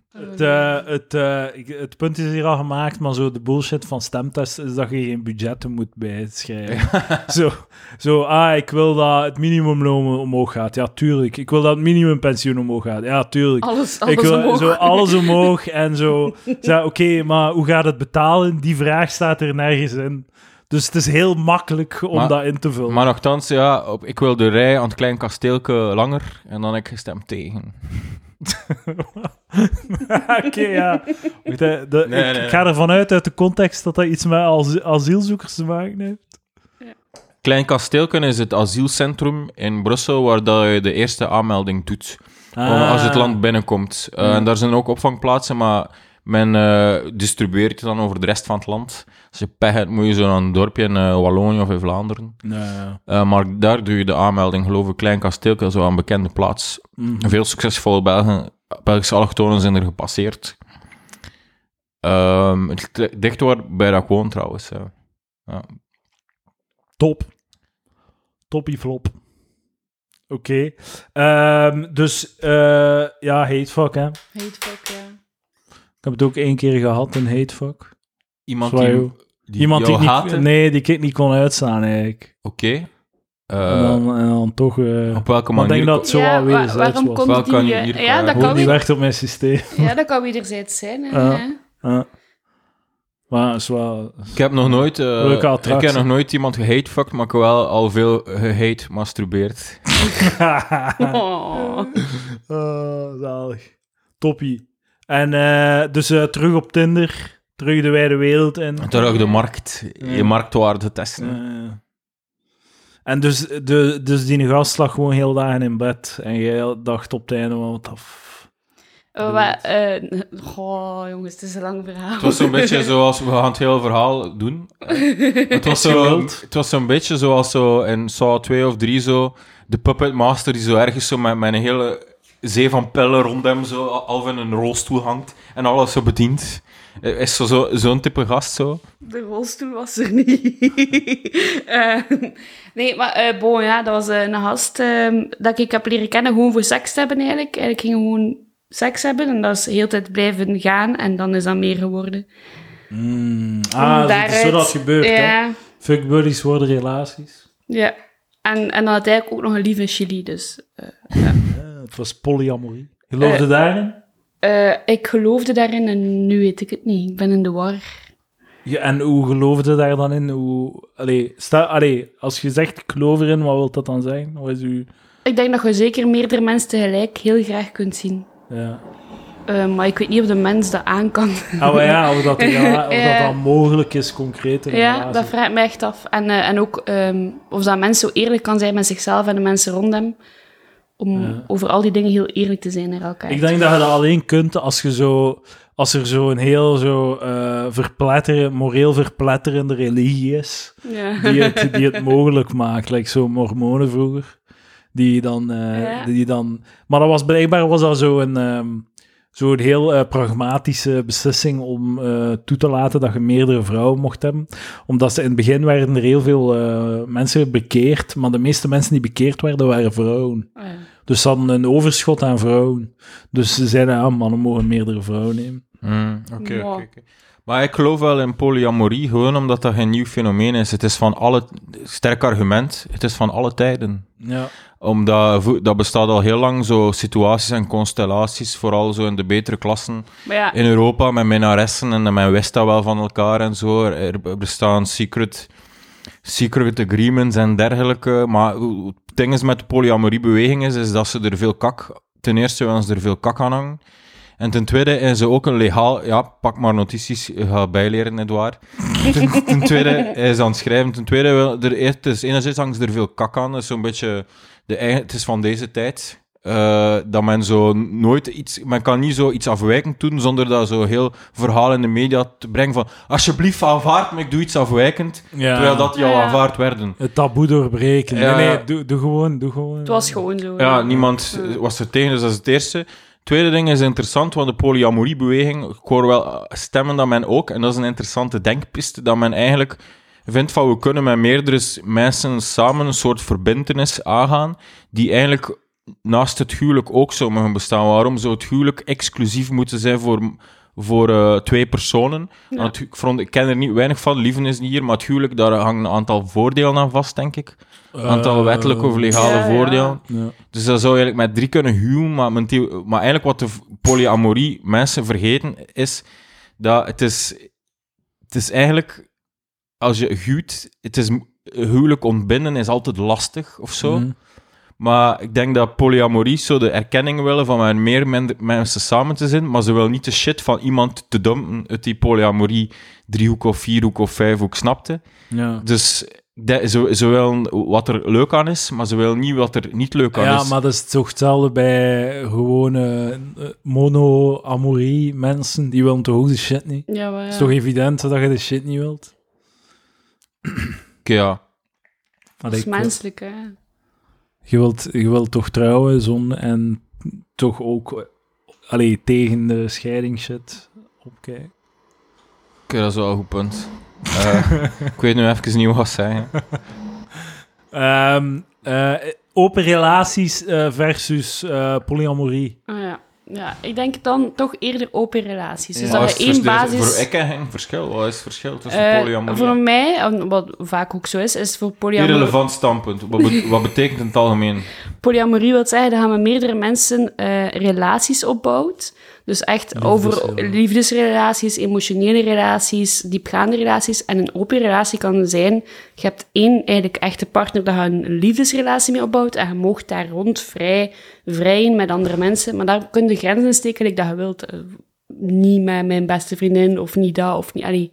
Het, eh, het, eh, ik- het punt is hier al gemaakt, maar zo de bullshit van stemtesten is dat je geen budgetten moet bijschrijven. zo, zo, ah, ik wil dat het minimumloon omhoog gaat. Ja, tuurlijk. Ik wil dat het minimumpensioen omhoog gaat. Ja, tuurlijk. Alles, alles ik wil omhoog. zo alles omhoog en zo. Zo, Oké, maar hoe gaat het betalen? Die vraag staat er nergens in. Dus het is heel makkelijk om Maar- dat in te vullen. Maar nogthans, ja, op, ik wil de rij aan het klein kasteelke langer. En dan heb ik gestemd tegen. Oké, ja. Wacht, hè, de- Nee, ik, nee, ik ga ervan uit uit de context dat dat iets met as- asielzoekers te maken heeft. Klein kasteelke is het asielcentrum in Brussel waar dat je de eerste aanmelding doet. Ah. Als het land binnenkomt. Eh, En daar zijn ook opvangplaatsen, maar men eh, distribueert het dan over de rest van het land. Als je pech hebt, moet je zo naar een dorpje in eh, Wallonië of in Vlaanderen. Nee. Eh, maar daar doe je de aanmelding, geloof ik, Klein Kasteelke, zo aan bekende plaats. Mhm. Veel succesvolle Belgen, Belgische allochtonen zijn er gepasseerd. Ehm, het ligt dicht waar bij dat ik woon, trouwens. ja. Ja. Top. Toppie flop. Oké. Ehm, dus eh, ja, hatefuck, hè. Ik Hate fuck, ja. heb het ook één keer gehad, een hatefuck. Iemand Zwaai- die, die Iemand die jou ik niet, haatte? Nee, die ik niet kon uitstaan, eigenlijk. Oké. en, Eh, dan, en dan toch... eh, op welke maar ik manier... denk dat het zo Ja, wel wa- weer waarom was. kon Wel die... kan je eh, hier- ja, dat Gewoon Gewoon kan niet weer, werkt op mijn systeem. ja, dat kan wederzijds zijn. Hè, Ja. hè. Ja. Maar het is wel... Ik heb nog nooit... eh, Leuke ik attractie. heb nog nooit iemand gehatefucked, maar ik heb wel al veel gehate masturbeerd. Oh. Oh, zalig. Toppie. En eh, dus eh, terug op Tinder, terug de wijde wereld in. Terug de markt, je marktwaarde testen. Eh. en dus, de, dus die gast lag gewoon heel dagen in bed. En jij dacht op het einde van wat af. Eh, maar, eh, goh, jongens, het is een lang verhaal. Het was zo'n beetje zoals, we gaan het hele verhaal doen. Eh, Het was, zo, Geweld. het was zo'n beetje zoals zo in Saw 2 of 3 zo, de Puppet Master die zo ergens zo met, met een hele zee van pillen rond hem zo, al- half in een rolstoel hangt en alles zo bedient. Eh, Is zo, zo, zo'n type gast zo. De rolstoel was er niet. Eh, nee, maar eh bon, ja, dat was eh, een gast eh, dat ik heb leren kennen gewoon voor seks te hebben eigenlijk. Eigenlijk ging gewoon seks hebben en dat is heel de tijd blijven gaan en dan is dat meer geworden. Ah, dat Daaruit- is zo dat het gebeurt, hè. ja, Fuck buddies worden relaties. Ja. En, en dan had hij ook nog een lief in Chili, dus... Eh, het was polyamorie. Geloofde Eh. daarin? eh, ik geloofde daarin en nu weet ik het niet. Ik ben in de war. Ja, en hoe geloofde daar dan in? Hoe, allee, sta, allee, als je zegt ik geloof erin, wat wil dat dan zijn? Wat is uw... Ik denk dat je zeker meerdere mensen tegelijk heel graag kunt zien. Ja. Eh, maar ik weet niet of de mens dat aan kan. Ah, maar ja, of dat, ja, of Ja. dat dan mogelijk is, concreet in Ja, relatie. dat vraag ik me echt af. En, eh, en ook ehm, of dat mens zo eerlijk kan zijn met zichzelf en de mensen rond hem. Om over al die dingen heel eerlijk te zijn naar elkaar. Ik denk dat je dat alleen kunt als, je zo, als er zo'n heel zo, eh, verpletteren, moreel verpletterende religie is, Ja. die het, die het mogelijk maakt. Like zo'n mormonen vroeger. Die dan, eh, Ja. die dan... Maar dat was blijkbaar was dat zo'n ehm, zo'n Zo'n heel eh, pragmatische beslissing om eh, toe te laten dat je meerdere vrouwen mocht hebben. Omdat ze in het begin werden er heel veel eh, mensen bekeerd, maar de meeste mensen die bekeerd werden, waren vrouwen. Ah, ja. Dus ze hadden een overschot aan vrouwen. Dus ze zeiden, ah, mannen mogen meerdere vrouwen nemen. Mm, Oké, Ja. oké, oké. Maar ik geloof wel in polyamorie, gewoon omdat dat geen nieuw fenomeen is. Het is van alle... Sterk argument, het is van alle tijden. Ja. Omdat vo- dat bestaat al heel lang, zo situaties en constellaties, vooral zo in de betere klassen Maar ja, in Europa, met minnaressen en men wist dat wel van elkaar en zo. Er- Er bestaan secret, secret agreements en dergelijke. Maar hoe- hoe het ding is met de polyamoriebeweging is, is dat ze er veel kak... Ten eerste willen ze er veel kak aan hangen. En ten tweede is ze ook een legaal... Ja, pak maar notities, je gaat bijleren, nietwaar. Ten, ten tweede is aan het schrijven. Ten tweede, wil, er, het is, enerzijds hangt er veel kak aan. Dat is zo'n beetje... De, eigen- het is van deze tijd. eh, dat men zo nooit iets... Men kan niet zo iets afwijkend doen zonder dat zo heel verhaal in de media te brengen van alsjeblieft, aanvaard me, ik doe iets afwijkend. Ja. Terwijl dat die al Ja. aanvaard werden. Het taboe doorbreken. Ja. Nee, nee, doe, doe gewoon, doe gewoon. het was gewoon zo. Ja, niemand was er tegen, dus dat is het eerste. Tweede ding is interessant, want de polyamoriebeweging, ik hoor wel eh, stemmen dat men ook, en dat is een interessante denkpiste, dat men eigenlijk vindt van we kunnen met meerdere s- mensen samen een soort verbintenis aangaan, die eigenlijk naast het huwelijk ook zou mogen bestaan. Waarom zou het huwelijk exclusief moeten zijn voor, voor eh, twee personen? Want het hu- ik, vond, ik ken er niet weinig van, Lieven is niet hier, maar het huwelijk, daar hangen een aantal voordelen aan vast, denk ik. Een aantal Eh, wettelijke of legale ja, ja. voordelen. Ja. Dus dat zou eigenlijk met drie kunnen huwen, maar, mijn theo- maar eigenlijk wat de v- polyamorie mensen vergeten is dat het is, het is eigenlijk, als je huwt, het is, m- huwelijk ontbinden is altijd lastig of zo. Mhm. Maar ik denk dat polyamorie zo de erkenning willen van met meer men- mensen samen te zijn, maar ze willen niet de shit van iemand te dumpen uit die polyamorie driehoek of vierhoek of vijfhoek snapte. Ja. Dus de- ze, ze willen wat er leuk aan is, maar ze willen niet wat er niet leuk aan Ja, is. maar dat is toch hetzelfde bij gewone eh, monoamorie mensen. Die willen toch ook de shit niet? Ja, maar ja. Het is toch evident dat je de shit niet wilt? Oké, ja. Maar Dat is ik- menselijk, hè. je, wilt, je wilt toch trouwen zon en toch ook eh, allee, tegen de scheiding shit opkijken. Oké, dat is wel een goed punt. Eh, ik weet nu even niet wat ik zeggen. Ehm, eh, open relaties eh, versus eh, polyamorie. Ah, ja. ja, ik denk dan toch eerder open relaties. Dus Ja. Wat dat is we het één vers- basis... Voor ik en geen verschil. Wat is het verschil tussen Eh, polyamorie voor en... mij, en wat vaak ook zo is, is voor polyamorie... Irrelevant standpunt. Wat, be- wat betekent in het algemeen? Polyamorie wil zeggen dat je met meerdere mensen eh, relaties opbouwt. Dus echt over liefdesrelaties, emotionele relaties, diepgaande relaties. En een open relatie kan zijn, je hebt één eigenlijk echte partner dat je een liefdesrelatie mee opbouwt. En je moogt daar rond vrij, vrij in met andere mensen. Maar daar kun je grenzen in steken like dat je wilt. Eh, niet met mijn beste vriendin, of niet dat, of niet... Allee.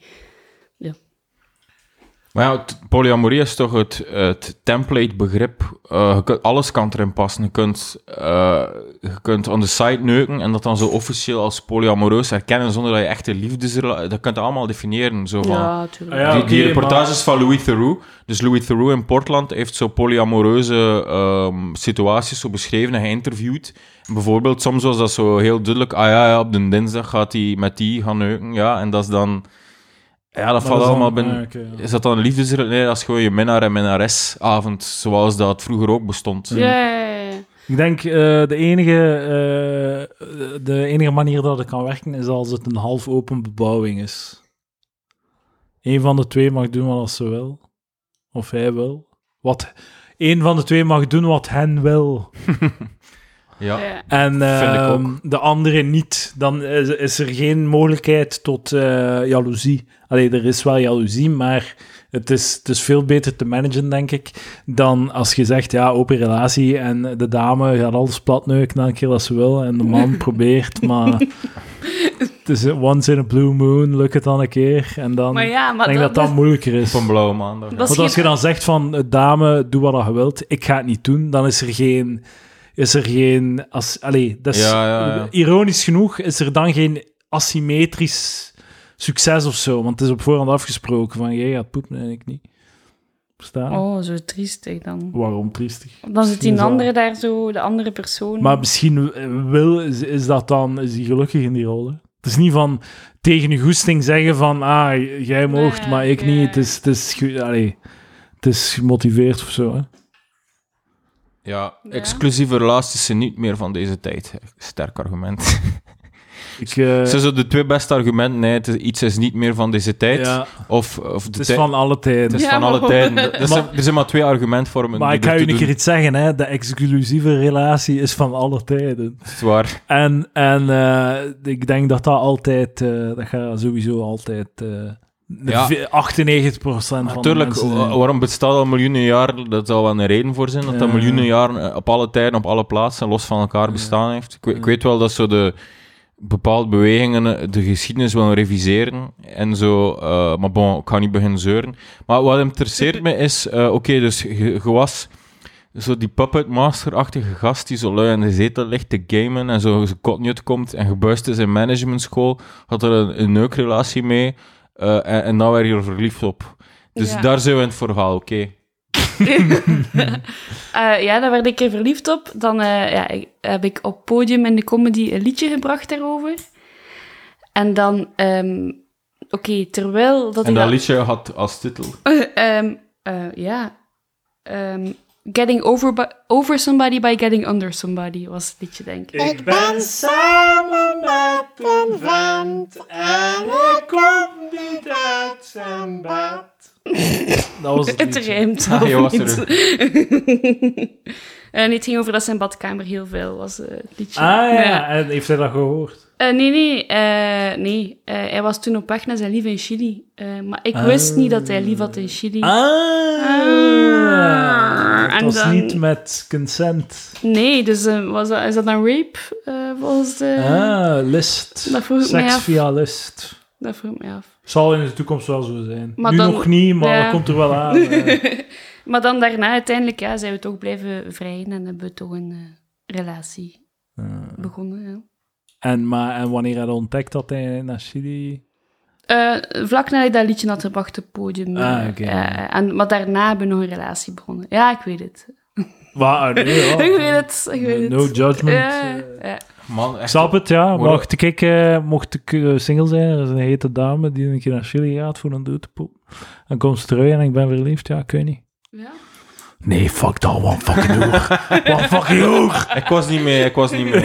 Maar ja, het- polyamorie is toch het, het template-begrip. Eh, je kunt- alles kan erin passen. Je kunt, eh, je kunt aan de site neuken en dat dan zo officieel als polyamoreus herkennen zonder dat je echte liefdesrelatie... Dat kunt je allemaal definiëren. Zo van, Ja, tuurlijk. Ah Ja, die, die oké, reportages van Louis Theroux. Dus Louis Theroux in Portland heeft zo polyamoreuze ehm, situaties zo beschreven en geïnterviewd. En Bijvoorbeeld, soms was dat zo heel duidelijk. Ah ja, ja op de dinsdag gaat hij met die gaan neuken. Ja, en dat is dan... Ja, dat, valt is dan- allemaal binnen... ah, oké, ja. Is dat dan een liefdesrelatie? Nee, dat is gewoon je minnaar- en minnaresavond, zoals dat vroeger ook bestond. Ja, ja, ja, ja. Ik denk eh, de, enige, eh, de enige manier dat het kan werken is als het een half open bebouwing is. Eén van de twee mag doen wat ze wil. Of hij wil. Wat, één van de twee mag doen wat hen wil. Ja. Ja. En Vind ik ehm, de andere niet. Dan is, is er geen mogelijkheid tot eh, jaloezie. Allee, er is wel jaloezie, maar het is, het is veel beter te managen, denk ik, dan als je zegt, ja, open relatie en de dame gaat alles platneuken elke keer dat ze wil en de man probeert, maar het is once in a blue moon, lukt het dan een keer en dan Maar ja, maar denk ik dat dat, dat moeilijker is. Op een blauwe maandag. dat is Want als je geen- dan zegt van eh, dame, doe wat je wilt, ik ga het niet doen, dan is er geen. Is er geen als, allee, dat is, Ja, ja, ja. Ironisch genoeg is er dan geen asymmetrisch succes of zo, want het is op voorhand afgesproken van jij gaat poepen en ik niet. staan. Oh, zo triest hè, dan. Waarom triestig? Dan zit die Misschien andere daar zo, de andere persoon. Maar misschien eh, wil, is, is dat dan, is hij gelukkig in die rol. Hè? Het is niet van tegen je goesting zeggen van, ah, jij moogt, Nee, maar ik nee. niet. Het is, het is, ge- allee, het is gemotiveerd of zo. Hè? Ja, Ja. exclusieve relaties zijn niet meer van deze tijd. Sterk argument. Ik, eh, Ze zijn zo de twee beste argumenten. Nee, het is- iets is niet meer van deze tijd. ja, Of, of de het is tijd- van alle tijden. Het is Ja, van maar alle goed. tijden. Er- Er zijn, er zijn maar twee argumentvormen. maar die ik ga u ertoe een keer doen. iets zeggen, hè. de exclusieve relatie is van alle tijden. Het is waar. En, en eh, ik denk dat dat altijd, eh, dat gaat sowieso altijd, eh, Ja. ve- 98% van Natuurlijk, de mensen... wa- waarom bestaat al miljoenen jaren? Dat zal wel een reden voor zijn. Dat dat Ja. miljoenen jaren eh, op alle tijden, op alle plaatsen, los van elkaar bestaan heeft. Ik, we- ik weet wel dat zo de bepaalde bewegingen eh, de geschiedenis willen reviseren en zo. eh, maar bon, ik ga niet beginnen zeuren. Maar wat interesseert me is, eh, oké, dus je, je was zo die puppet master-achtige gast die zo lui in de zetel ligt te gamen en zo zijn kot niet uitkomt en gebuist is in managementschool, had er een, een neukrelatie mee eh, en, en dan werd je er verliefd op. Dus Ja. daar zijn we in het verhaal, oké. Eh, ja, daar werd ik er verliefd op. Dan eh, ja, ik- heb ik op podium in de comedy een liedje gebracht daarover. En dan, ehm, oké, terwijl dat En ik dat dat- liedje had als titel. Ehm, eh, ja. Ehm, getting over, by- over somebody by getting under somebody was het liedje, denk ik. Ik ben samen met een vent en ik kom niet uit zijn bed. Dat was het Het liedje. rijmt Ah, je of was niet. er. En het ging over dat zijn badkamer heel veel was, eh, het liedje. Ah ja, en heeft hij dat gehoord? Eh, nee, nee. eh, nee. Eh, hij was toen op weg naar zijn lief in Chili. Eh, maar ik wist Ah. niet dat hij lief had in Chili. Ah, het en was dan- niet met consent. Nee, dus eh, was dat, is dat dan rape? eh, volgens de... Ah, list. dat vroeg ik mij Seks af. via list. Dat vroeg ik mij af. Zal in de toekomst wel zo zijn. Maar nu dan- nog niet, maar ja. dat komt er wel aan. eh. Maar dan daarna uiteindelijk ja, zijn we toch blijven vrijen en hebben we toch een eh, relatie Ah. begonnen. Ja. en, maar, en wanneer hij ontdekt dat hij naar Chili... Eh, vlak nadat ik dat liedje had gebracht op het podium. eh, Ah, oké. eh, en, maar daarna hebben we nog een relatie begonnen. Ja, ik weet het. Waar? Ah, Nee, ja. ik weet het, ik weet het. No judgment. Ja, eh. ja. Man, echt. Ik snap het, ja. Waarom? Mocht ik, eh, mocht ik eh, single zijn, er is een hete dame die een keer naar Chili gaat voor een doodpoep. En komt ze terug en ik ben verliefd. Ja, kun je niet. Ja. Nee, fuck dat. Wat fucking hoer. Wat fucking hoer. Ik was niet mee, ik was niet mee.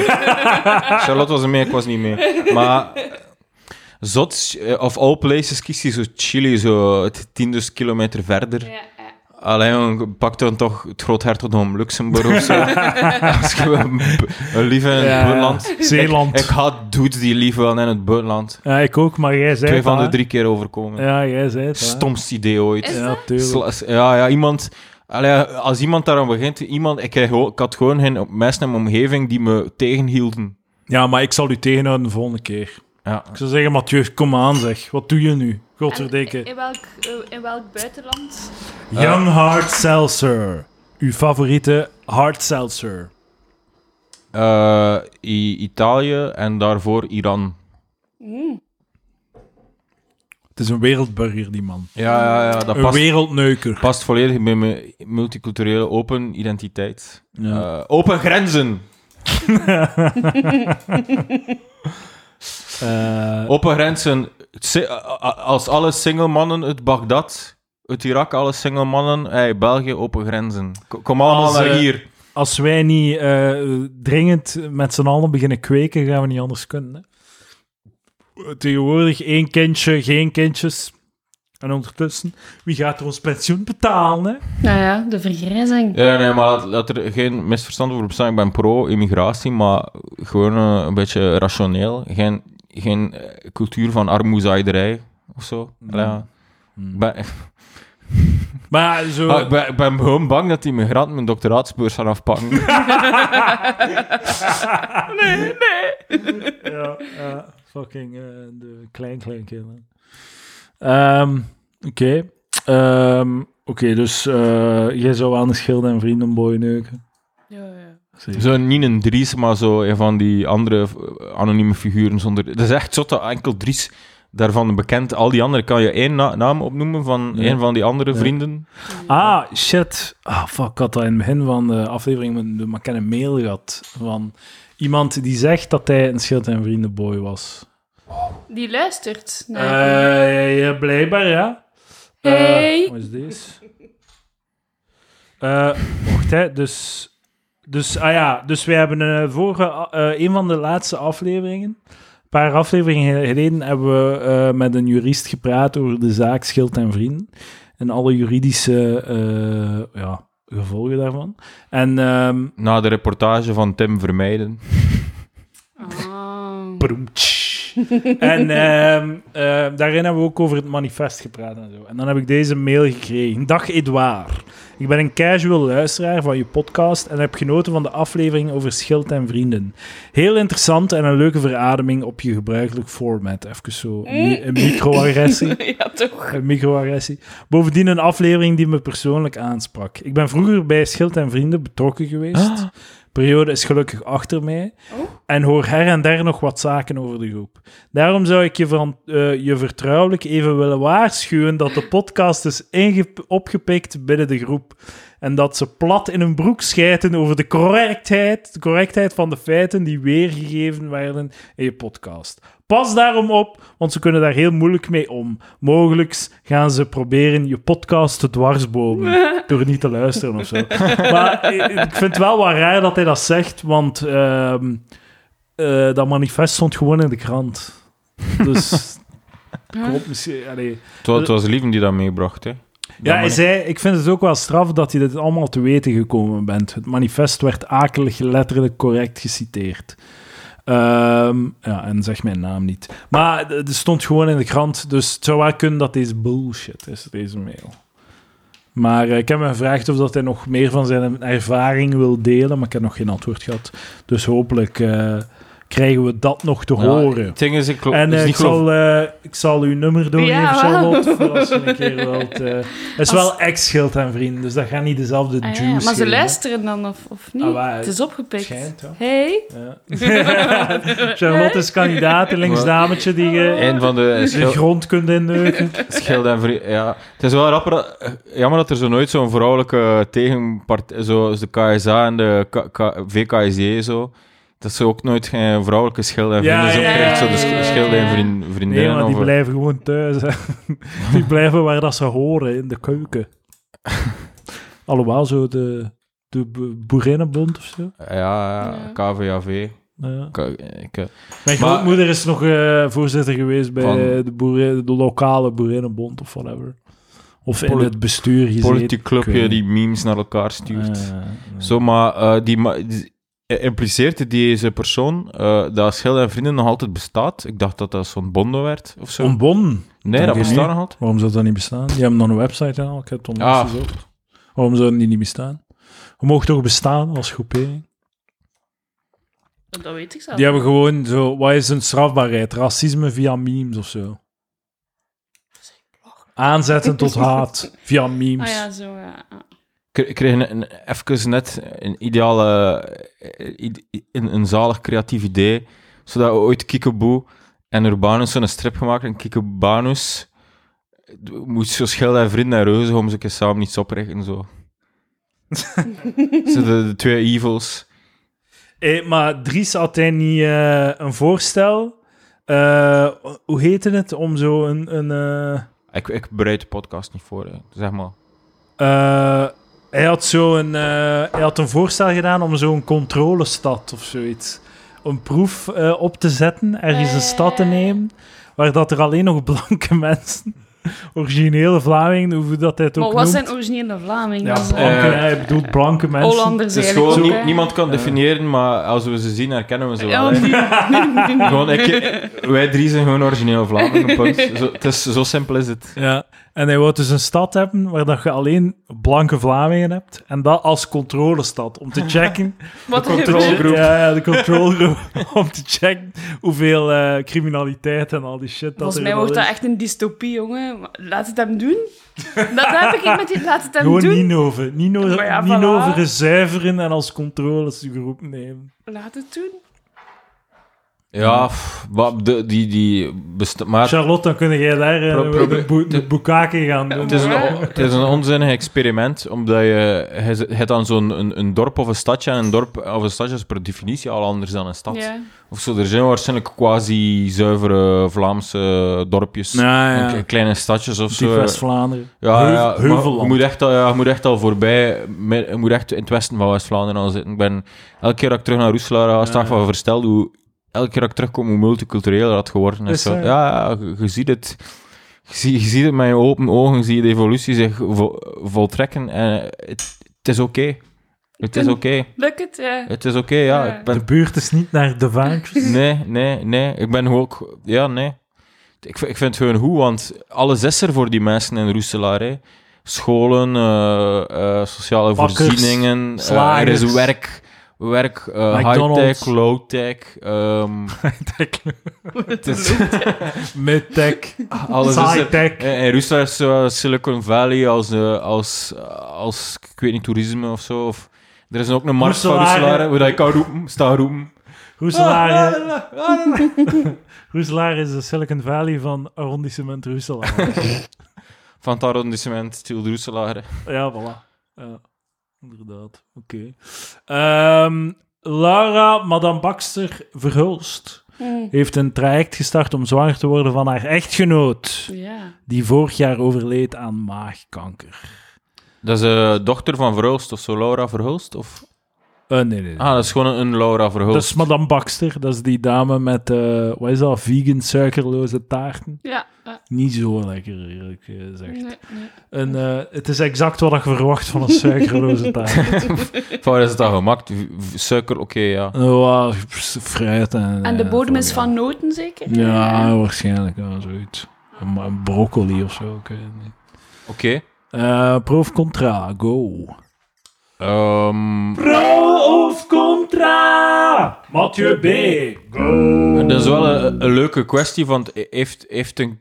Charlotte was er mee, ik was niet mee. Maar eh, zot, eh, of all places kiest hij zo Chili, zo het tienduizend kilometer verder. Alleen jongen, pak dan toch het groothertogdom Luxemburg of zo. Als je een, b- een lief in het Ja, buitenland. Zeeland. Ik, ik had dudes die lief wel in het buitenland. Ja, ik ook, maar jij zei Twee het, van de hè. drie keer overkomen. Ja, jij zei het. hè. Stomst idee ooit. Is Ja, dat? tuurlijk. Sla- Ja, ja, iemand... Allee, als iemand daarom begint, iemand, ik, krijg gewoon- ik had gewoon geen mensen in mijn omgeving die me tegenhielden. Ja, maar ik zal u tegenhouden de volgende keer. Ja. Ik zou zeggen, Mathieu, kom aan zeg. Wat doe je nu? En Godverdikke. in, welk, eh, in welk buitenland? Young Hard Seltzer. Uw favoriete Hard Seltzer. Eh, I- Italië en daarvoor Iran. Het is een wereldburger, die man. Ja, ja, ja dat Een past, wereldneuker. past volledig bij mijn multiculturele open identiteit. Ja. Eh, open grenzen! Eh, Open grenzen. Si- a- a- Als alle single mannen uit Bagdad, uit Irak, alle single mannen, hey, België, open grenzen. K- Kom allemaal Als, naar eh, hier. Als wij niet eh, dringend met z'n allen beginnen kweken, gaan we niet anders kunnen. Hè? Tegenwoordig één kindje, geen kindjes. En ondertussen, wie gaat er ons pensioen betalen? Hè? Nou ja, de vergrijzing. Ja, nee, maar laat, laat er geen misverstand over bestaan. Ik ben pro-immigratie, maar gewoon eh, een beetje rationeel. Geen, geen eh, cultuur van armoezaaierij of zo. Ja. Ik ben, Maar zo... Ah, ik, ben, ik ben gewoon bang dat die migranten mijn doctoraatsbeurs gaan afpakken. ja, ja, fucking eh, de klein-kleinkinderen. Ehm, Oké. Ehm, Oké, dus eh, jij zou aan de schilder en vriendenboy neuken. Ja, ja. Zeker. Zo niet een Dries, maar zo een van die andere eh, anonieme figuren zonder... Het is echt zot dat enkel Dries daarvan bekend. Al die anderen, kan je één na- naam opnoemen van Ja. een van die andere Ja. vrienden? Ah, shit. Ah, fuck, ik had dat in het begin van de aflevering moeten doen, maar ik heb een mail gehad van iemand die zegt dat hij een schild- en vriendenboy was. Die luistert naar... Eh, ja, blijkbaar, ja. Eh, Hey. wat is deze? Eh, wacht, hè. Dus, dus, ah ja, dus we hebben eh vorige, eh, een van de laatste afleveringen, een paar afleveringen geleden, hebben we eh, met een jurist gepraat over de zaak Schild en Vrienden. En alle juridische eh, ja, gevolgen daarvan. En ehm, Na de reportage van Tim Vermeijden. eh, Ah. Broemtsch. en ehm, ehm, daarin hebben we ook over het manifest gepraat en zo. En dan heb ik deze mail gekregen. Dag Edouard. Ik ben een casual luisteraar van je podcast en heb genoten van de aflevering over schild en vrienden. Heel interessant en een leuke verademing op je gebruikelijk format. Even zo, een mi- een microagressie. ja, toch. Een microagressie. Bovendien een aflevering die me persoonlijk aansprak. Ik ben vroeger bij Schild en Vrienden betrokken geweest. Periode is gelukkig achter mij. Oh. En hoor her en der nog wat zaken over de groep. Daarom zou ik je, veran- eh, je vertrouwelijk even willen waarschuwen dat de podcast is inge- opgepikt binnen de groep. En dat ze plat in hun broek schijten over de correctheid, de correctheid van de feiten die weergegeven werden in je podcast. Pas daarom op, want ze kunnen daar heel moeilijk mee om. Mogelijks gaan ze proberen je podcast te dwarsbomen door niet te luisteren of zo. Maar eh, ik vind het wel wat raar dat hij dat zegt, want ehm, eh, dat manifest stond gewoon in de krant. Dus klopt misschien. allee. Het wa- het Eh, was Lieven die dat meebracht, hè? Ja, hij zei, ik vind het ook wel straf dat je dit allemaal te weten gekomen bent. Het manifest werd akelig letterlijk correct geciteerd. Ehm, ja, en zeg mijn naam niet. Maar d- het stond gewoon in de krant, dus het zou wel kunnen dat deze bullshit is, deze mail. Maar eh, ik heb hem gevraagd of dat hij nog meer van zijn ervaring wil delen, maar ik heb nog geen antwoord gehad. Dus hopelijk eh, krijgen we dat nog te horen. Het ding is, ik gelo- En het is eh, Dus ik, niet zal, eh, ik zal uw nummer doorgeven, Ja, wel. Charlotte, voor als je een keer wilt. eh. Het is Als- wel ex-schild en vrienden, dus dat gaat niet dezelfde Ah, juice ja, Maar ze geven, hè. luisteren dan of, of niet? Ah, waar, het is opgepikt. schijnt, ja. Hey. Ja. Charlotte is kandidaat, een linksdametje die je Een van de de schil- grond kunt inneuken. schild en vri- Ja. Het is wel rapper. dat- eh, Jammer dat er zo nooit zo'n vrouwelijke tegenpartij, zoals de KSA en de K- K- VKSJ zo. Dat ze ook nooit geen vrouwelijke schild Ja, en vrienden zo ja, ja, krijgt. Zo de ja, ja, sch- schild en ja. vriend, Nee, vriendinnen. maar die of- blijven gewoon thuis. hè. Die blijven waar dat ze horen, in de keuken. Alhoewel, zo de, de bo- boerinnenbond of zo. Ja, ja, Ja. KVAV. Ja. K- ik, eh, Mijn Maar- grootmoeder is nog eh, voorzitter geweest bij Van- de, boeren, de lokale boerinnenbond of whatever. Of in Poli- het bestuur gezeten. Politiek ik weet clubje niet. die memes naar elkaar stuurt. Eh, nee. Zo, maar eh, die, ma- die- eh, impliceert deze persoon eh, dat Schild en Vrienden nog altijd bestaat? Ik dacht dat dat zo'n bondo werd of zo. Een bon. nee, dat dank je bestaat niet. nog altijd. Waarom zou dat niet bestaan? Die hebben nog een website en al. Ik heb het onlangs Ah. gezocht. Waarom zou die niet bestaan? We mogen toch bestaan als groepering? Dat weet ik zelf. Die hebben gewoon zo... Wat is een strafbaarheid? Racisme via memes of zo. Aanzetten tot haat via Ah memes. ja, zo ja. Ah. Ik ik kreeg een, een, even net een ideale, eh, ide- een, een zalig creatief idee, zodat we ooit Kikeboe en Urbanus zo'n strip gemaakt en Kikebanus moest zo Schild en Vrienden en Reuzen om ze een keer samen iets oprichten zo. zo de, de twee evils. Hé, Eh, maar Dries had hij niet eh, een voorstel? Eh, hoe heette het? Om zo een. een eh, Ik, ik bereid de podcast niet voor, hè. zeg maar. eh, hij, had zo een, eh, hij had een voorstel gedaan om zo'n controlestad of zoiets. Een proef eh, op te zetten, ergens een stad Eh. te nemen. Waar dat er alleen nog blanke mensen, originele Vlamingen, hoe dat hij het ook Maar wat noemt. zijn originele Vlamingen? Ja, Dat is, eh, blanke, Eh, hij bedoelt blanke mensen. Hollanders Het is eigenlijk gewoon, ook, nie- hè? niemand kan definiëren, maar als we ze zien, herkennen we ze wel. Ja, hè. die- Gewoon, ik- wij drie zijn gewoon origineel Vlamingen, punt. Zo, het is, zo simpel is het. Ja, en hij wou dus een stad hebben waar dat je alleen blanke Vlamingen hebt. En dat als controlestad, om te checken. Wat De er controle- gebeurt. Controlgroep. Ja, ja, de controlgroep. om te checken hoeveel eh, criminaliteit en al die shit dat Volgens er mij wel wordt dat is. echt een dystopie, jongen. Maar Laat het hem doen. Dat heb ik met die... Laat het hem Gewoon doen. Ninoven. Nino, Maar ja, Ninoven voilà. zuiveren en als controles de groep nemen. Laat het doen. Ja, pff, wat- de, die, die besta- maar Charlotte, dan kun jij daar eh, Pro- probeer- de, boe- de het- boekake gaan doen. het is, een, on- het is een onzinnig experiment, omdat je, je z- je hebt dan zo'n een, een dorp of een stadje, en een dorp of een stadje is per definitie al anders dan een stad. Ja. Of zo, er zijn waarschijnlijk quasi-zuivere Vlaamse dorpjes, Ja, ja. en k- kleine stadjes of Diep zo. West-Vlaanderen. Ja, Heu- ja, maar Heuvelland. Je moet, echt al, ja, je moet echt al voorbij. me- Je moet echt in het westen van West-Vlaanderen al zitten. Ik ben elke keer dat ik terug naar Roeselaar ga, sta ik van versteld hoe... Elke keer dat ik terugkom, hoe multicultureel dat geworden is. Is ja, dat? ja, je, je ziet het... Je, zie- je ziet het met je open ogen, zie je de evolutie zich vo- voltrekken. En het, het is oké. Het is oké. Lukt het? Ja. Het is oké, ja. Ik ben De buurt is niet naar de vaantjes. Nee, nee, nee. Ik ben ook... Ja, nee. Ik, v- ik vind het gewoon goed, want alles is er voor die mensen in Roeselaar. hè. Scholen, eh, eh, sociale Bakkers, voorzieningen. eh, er slagers. is werk. Werk, eh, McDonald's. high-tech, low-tech. ehm, het is- Mid-tech. alles is er. Sci-tech. Eh, In Roeselaar is zowel Silicon Valley als, eh, als, als, ik weet niet, toerisme of zo. Of, er is ook een markt van Roeselaar, Roeselaar, hè. hè, waar je kan roepen, staan roepen. Ah, Roeselaar. hè. Roeselaar is de Silicon Valley van arrondissement Roeselaar. Van het arrondissement, stil Roeselaar. hè. ja, voilà. Ja, inderdaad. Oké. Ehm, Laura, Madame Baxter Verhulst, Hm. heeft een traject gestart om zwanger te worden van haar echtgenoot, Ja. die vorig jaar overleed aan maagkanker. Dat is de dochter van Verhulst of zo, Laura Verhulst? Of... Eh, nee, nee. nee. Ah, dat is gewoon een Laura dat Verhulst. is Madame Baxter, dat is die dame met, eh, wat is dat, vegan suikerloze taarten. Ja. ja. Niet zo lekker, eerlijk gezegd. Nee, nee. En, eh, het is exact wat je verwacht van een suikerloze taart. Van waar is het dan gemaakt? V- v- Suiker, oké, ja. Wow, fruit en... En de eh, bodem is ja. van noten, zeker? Ja, waarschijnlijk wel zoiets. Een, een broccoli of zo, ik weet het niet. Oké. Eh, pro of contra, go. Ehm, Pro of contra, Mathieu B. dat is wel een, een leuke kwestie, want he- heeft, heeft een...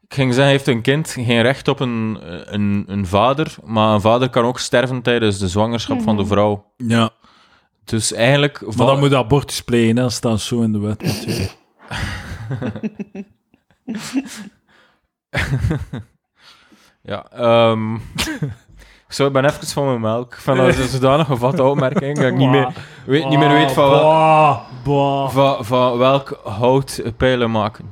Ik ging zeggen, heeft een kind geen recht op een, een, een vader, maar een vader kan ook sterven tijdens de zwangerschap van de vrouw. Ja, Dus eigenlijk... maar dan moet je abortus plegen, hè, dat staat zo in de wet natuurlijk. Ja, ehm Zo, ik ben even van mijn melk. Van dat is een zodanige vatte opmerking dat ik niet meer weet, niet meer weet van, wel, Ah, Bah, bah. van, van welk hout pijlen maken.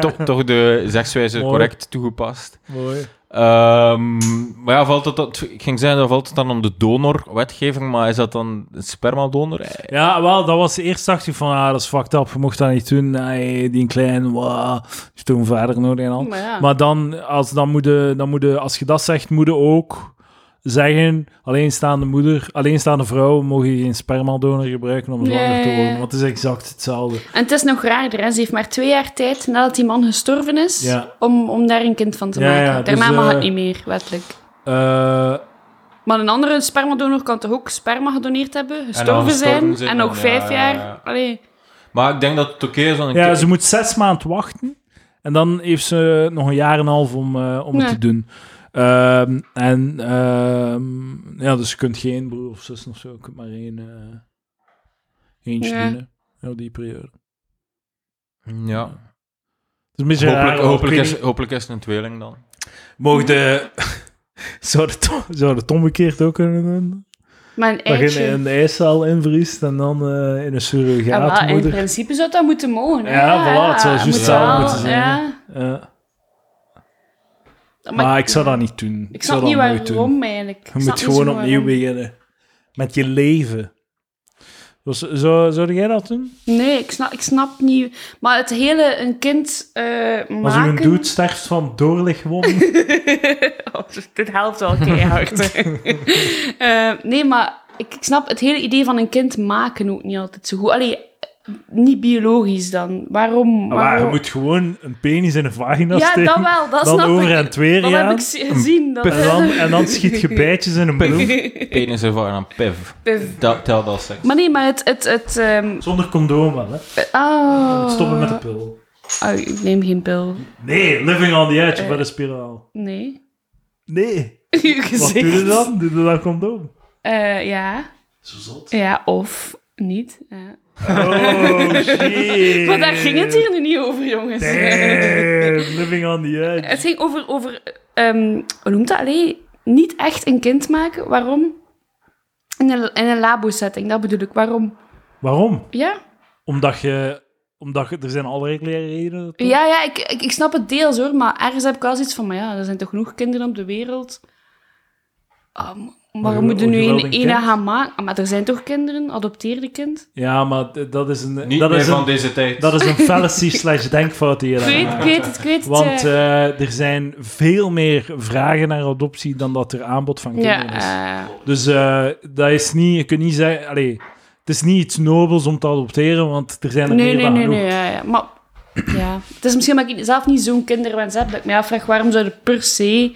toch, toch de zegswijze Mooi. correct toegepast. Mooi. Ehm, maar ja, valt het, dan- ik ging zeggen, dan valt het dan om de donorwetgeving, maar is dat dan een spermadonor? Eh, Ja, wel, dat was eerst dacht ik van, ah, dat is fucked up, je mocht dat niet doen. Nee, die klein, wow, is toen verder nodig en al. Maar ja. Maar dan, als, dan moet je, dan moet je- als je dat zegt, moet je ook zeggen, alleenstaande moeder, alleenstaande vrouw, mogen geen spermadonor gebruiken om zwanger te Nee. worden. Want het is exact hetzelfde. En het is nog raarder, hè. ze heeft maar twee jaar tijd nadat die man gestorven is, Ja. om, om daar een kind van te Ja, maken. ja, dus, Daarna mag eh, het niet meer, wettelijk. Eh, Maar een andere spermadonor kan toch ook sperma gedoneerd hebben, gestorven gestorven zijn, zijn, en ja, nog vijf ja, jaar. ja. Allee. Maar ik denk dat het oké is. want ik- ja, ze moet zes maanden wachten. En dan heeft ze nog een jaar en een half om, eh, om het Ja. te doen. Ehm, en ehm, ja, dus je kunt geen broer of zus of zo. Je kunt maar één, eh, eentje Ja. doen, hè, op die periode. ja. Het is een beetje raar, want Hopelijk, ik hopelijk, weet is, niet- hopelijk is het een tweeling dan. Mocht de... Zou het, zou het omgekeerd ook kunnen doen? Maar een Dat eitje. je in een ijszaal invriest en dan eh, in een Ja, maar in surrogaatmoeder. principe zou dat moeten mogen. hè. Ja, voilà, het zou juist moet samen wel, moeten zijn, Ja. Ja, Maar, maar ik zou dat niet doen. ik zou snap niet dat nooit doen. waarom eigenlijk. Ik Je snap moet niet gewoon zo opnieuw waarom. beginnen. Met je leven. Dus, zou, zou jij dat doen? Nee, ik snap, ik snap niet. Maar het hele een kind eh Als u een maken... dude sterft van doorlichtwonden. Oh, dit helpt wel keihard. Eh, nee, maar ik, ik snap het hele idee van een kind maken ook niet altijd zo goed. Allee, eh, niet biologisch dan. Waarom? maar je waarom- moet gewoon een penis in een vagina ja, steken. dat wel, dat dan snap over ik. en twee dat jaar. heb ik zi- gezien. Dat, En dan, en dan schiet je bijtjes in een bloem. Penis ervaren aan piv. Piv. Dat telt als seks. Maar nee, maar het... het, het ehm, Zonder condoom wel, hè. oh. Stoppen met de pil. Oh, ik neem geen pil. Nee, living on the Eh. edge of de spiraal. Nee. Nee. Uw Wat gezicht. doe je dan? Doe je dan condoom? Eh, ja. Zo zot. Ja, of niet. Ja. Oh, shit. Maar daar ging het hier nu niet over, jongens. Damn, living on the edge. Het ging over, over ehm, hoe noemt dat? Allee, niet echt een kind maken. Waarom? In een, in een labo-setting, dat bedoel ik. Waarom? Waarom? Ja, Omdat je... Omdat je... Er zijn allerlei redenen. toch? ja, ja ik, ik, ik snap het deels hoor, maar ergens heb ik wel zoiets van, maar ja, er zijn toch genoeg kinderen op de wereld. Ah, m- waarom je- moet je nu je wel een, een ene kind? gaan maken? Ah, Maar er zijn toch kinderen, adopteerde kind? Ja, maar d- dat is een... Niet dat meer is van een, deze tijd. Dat is een fallacy slash denkfout die je Ik daar weet, maakt. ik weet het, ik weet het. Want eh. eh, er zijn veel meer vragen naar adoptie dan dat er aanbod van kinderen ja, is. eh, Dus eh, dat is niet, je kunt niet zeggen, allee, het is niet iets nobels om te adopteren, want er zijn er nee, meer nee, dan nee, genoeg. nee, ja, ja. Maar ja, het is misschien dat ik zelf niet zo'n kinderwens heb, dat ik me afvraag waarom zou je per se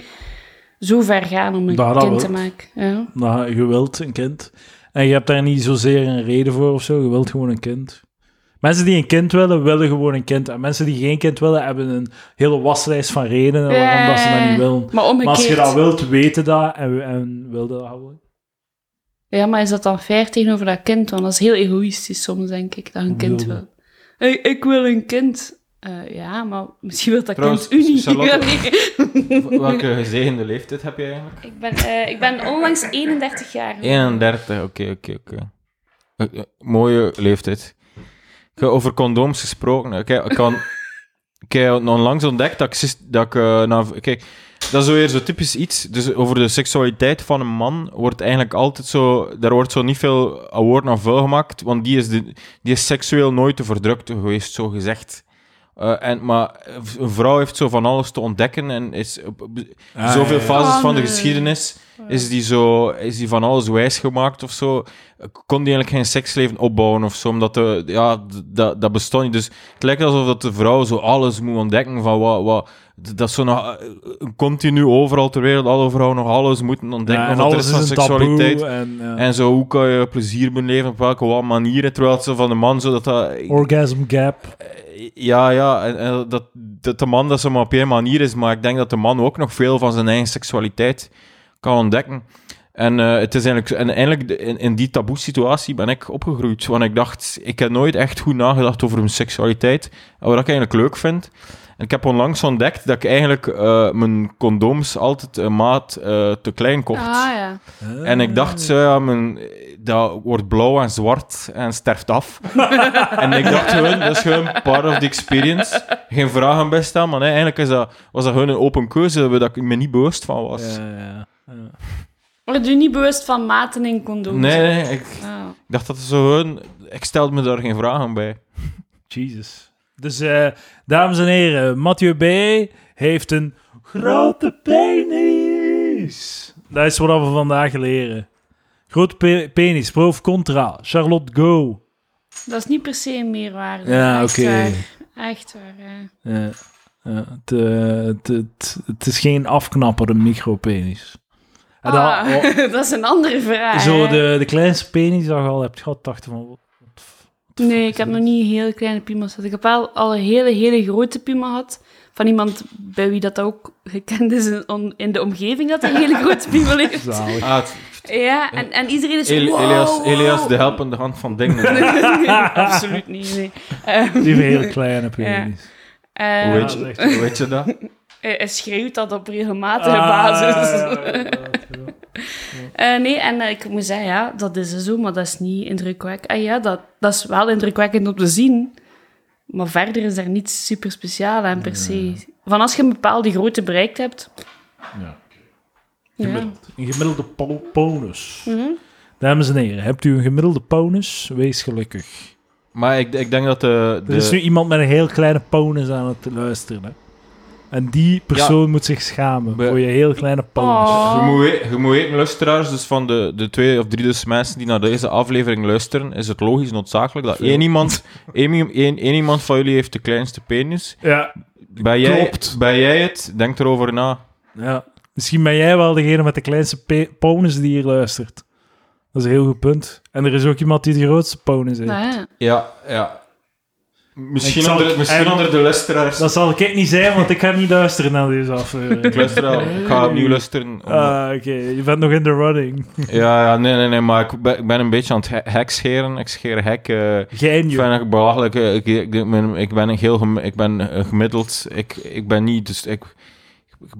zo ver gaan om een Dat- dat kind wel. te maken. Ja. Nou, je wilt een kind. En je hebt daar niet zozeer een reden voor of zo, je wilt gewoon een kind. Mensen die een kind willen, willen gewoon een kind. En mensen die geen kind willen, hebben een hele waslijst van redenen waarom dat ze dat niet willen. Eh, Maar Maar als je omgekeerd. dat wilt, weten dat en, en wil dat gewoon. Ja, maar is dat dan fair tegenover dat kind? Want dat is heel egoïstisch soms, denk ik, dat een Hoe kind bedoel je? wil. Hey, ik wil een kind. Eh, ja, maar misschien wil dat Trouwens, kind u niet. Charlotte- Nee. Welke gezegende leeftijd heb je eigenlijk? ik, ben, eh, ik ben onlangs 31 jaar. 31, oké, oké, oké. Eh, eh, Mooie leeftijd. Ik heb over condooms gesproken. hè. Kijk, ik, kan, ik heb onlangs ontdekt dat ik... sis- Dat ik eh, na- kijk, dat is zo weer zo typisch iets. Dus over de seksualiteit van een man wordt eigenlijk altijd zo... Daar wordt zo niet veel award naar vuil gemaakt, want die is, de, die is seksueel nooit te verdrukte geweest, zo gezegd. Eh, en, maar een vrouw heeft zo van alles te ontdekken en is op- op- zoveel fases Oh, van de nee. geschiedenis is die, zo, is die van alles wijs gemaakt of zo. Kon die eigenlijk geen seksleven opbouwen of zo, omdat de, ja, d- dat, dat bestond niet. Dus het lijkt alsof dat de vrouw zo alles moet ontdekken van wat... wat d- dat ze nog eh, continu overal ter wereld, alle vrouwen nog alles moeten ontdekken. Ja, en wat er alles is is van een seksualiteit. taboe. En, eh, En zo, hoe kan je plezier beleven, op welke wat manieren, terwijl het zo van de man zo dat dat... orgasm gap. Ja, ja, en, en dat, dat de man dat ze maar op één manier is, maar ik denk dat de man ook nog veel van zijn eigen seksualiteit kan ontdekken. En eh, het is eigenlijk, en eigenlijk de- in, in die taboe situatie ben ik opgegroeid, want ik dacht, ik heb nooit echt goed nagedacht over mijn seksualiteit, en wat ik eigenlijk leuk vind. En ik heb onlangs ontdekt dat ik eigenlijk eh, mijn condooms altijd een maat eh, te klein kocht. Ah ja. En ik dacht, zo, ja, mijn, dat wordt blauw en zwart en sterft af. en ik dacht gewoon, dat is gewoon part of the experience. Geen vragen bij staan, maar nee, eigenlijk is dat, was dat gewoon een open keuze waar dat ik me niet bewust van was. Ja, ja, ja. Word je niet bewust van maten in condooms? Nee, nee, ik, ik Ah. dacht dat het zo gewoon... Ik stelde me daar geen vragen bij. Jesus. Dus, eh, dames en heren, Mathieu B. heeft een grote penis. Dat is wat we vandaag leren. Grote pe- penis, pro of contra. Charlotte, go. Dat is niet per se een meerwaarde. Ja, Echt oké. waar. Echt waar, ja. Ja, ja, het, eh, het, het, het is geen afknapper, een micropenis. En dan- Ah, dat is een andere vraag. zo hè. de, de kleinste penis dat je al hebt gehad, dacht je van... wat de f- Nee, ik heb nog niet hele kleine piemels gehad. Ik heb wel al een hele, hele grote piemel gehad. Van iemand bij wie dat ook gekend is in, on- in de omgeving, dat hij een hele grote piemel heeft. Zalig. Ah, het- Ja, en, en iedereen is... Eli- wow, Elias, wow. Elias, de helpende hand van dingen. Nee, absoluut niet, nee. Ehm, Die hele kleine penis. ehm, Hoe weet je, dat is echt hoe weet je dat? hij hij schreeuwt dat op Ah. regelmatige basis. Eh, nee, en eh, ik moet zeggen, ja, dat is zo, maar dat is niet indrukwekkend. Ah ja, dat, dat is wel indrukwekkend om te zien, maar verder is daar niets super speciaal aan per se. Van als je een bepaalde grootte bereikt hebt. Ja. Ja. Mhm. Een gemiddelde po- ponus. Dames en heren, hebt u een gemiddelde ponus? Wees gelukkig. Maar ik, ik denk dat de... de Er is nu iemand met een heel kleine ponus aan het luisteren. hè. En die persoon moet zich schamen We- voor je heel kleine ponus. Dus Je Oh. moet, we- je moet weten, luisteraars, dus van de, de twee of drie dus mensen die naar deze aflevering luisteren, is het logisch noodzakelijk dat één iemand, één, één, één iemand van jullie heeft de kleinste penis. Ja, Ben jij, Klopt. ben jij het? Denk erover na. ja. Misschien ben jij wel degene met de kleinste pe- ponus die hier luistert. Ah, Dat is een heel goed punt. En er is ook iemand die de grootste ponus heeft. Nou ja. Ja, ja. Misschien, Ik zal- onder, misschien en- onder de luisteraars. Dat zal ik niet zijn, want ik ga niet luisteren naar deze Ik aflevering. luister al. Ik ga opnieuw luisteren. om- Ah, oké. Je bent nog in de running. Ja, ja, nee, nee, nee, maar ik ben, ik ben een beetje aan het he- hek scheren. Ik scheer hek. eh Geen ik joh. vind het belachelijk. eh, Ik, ik, ik ben- ik ben een heel gem- ik ben eh, gemiddeld. Ik, ik ben niet, dus ik,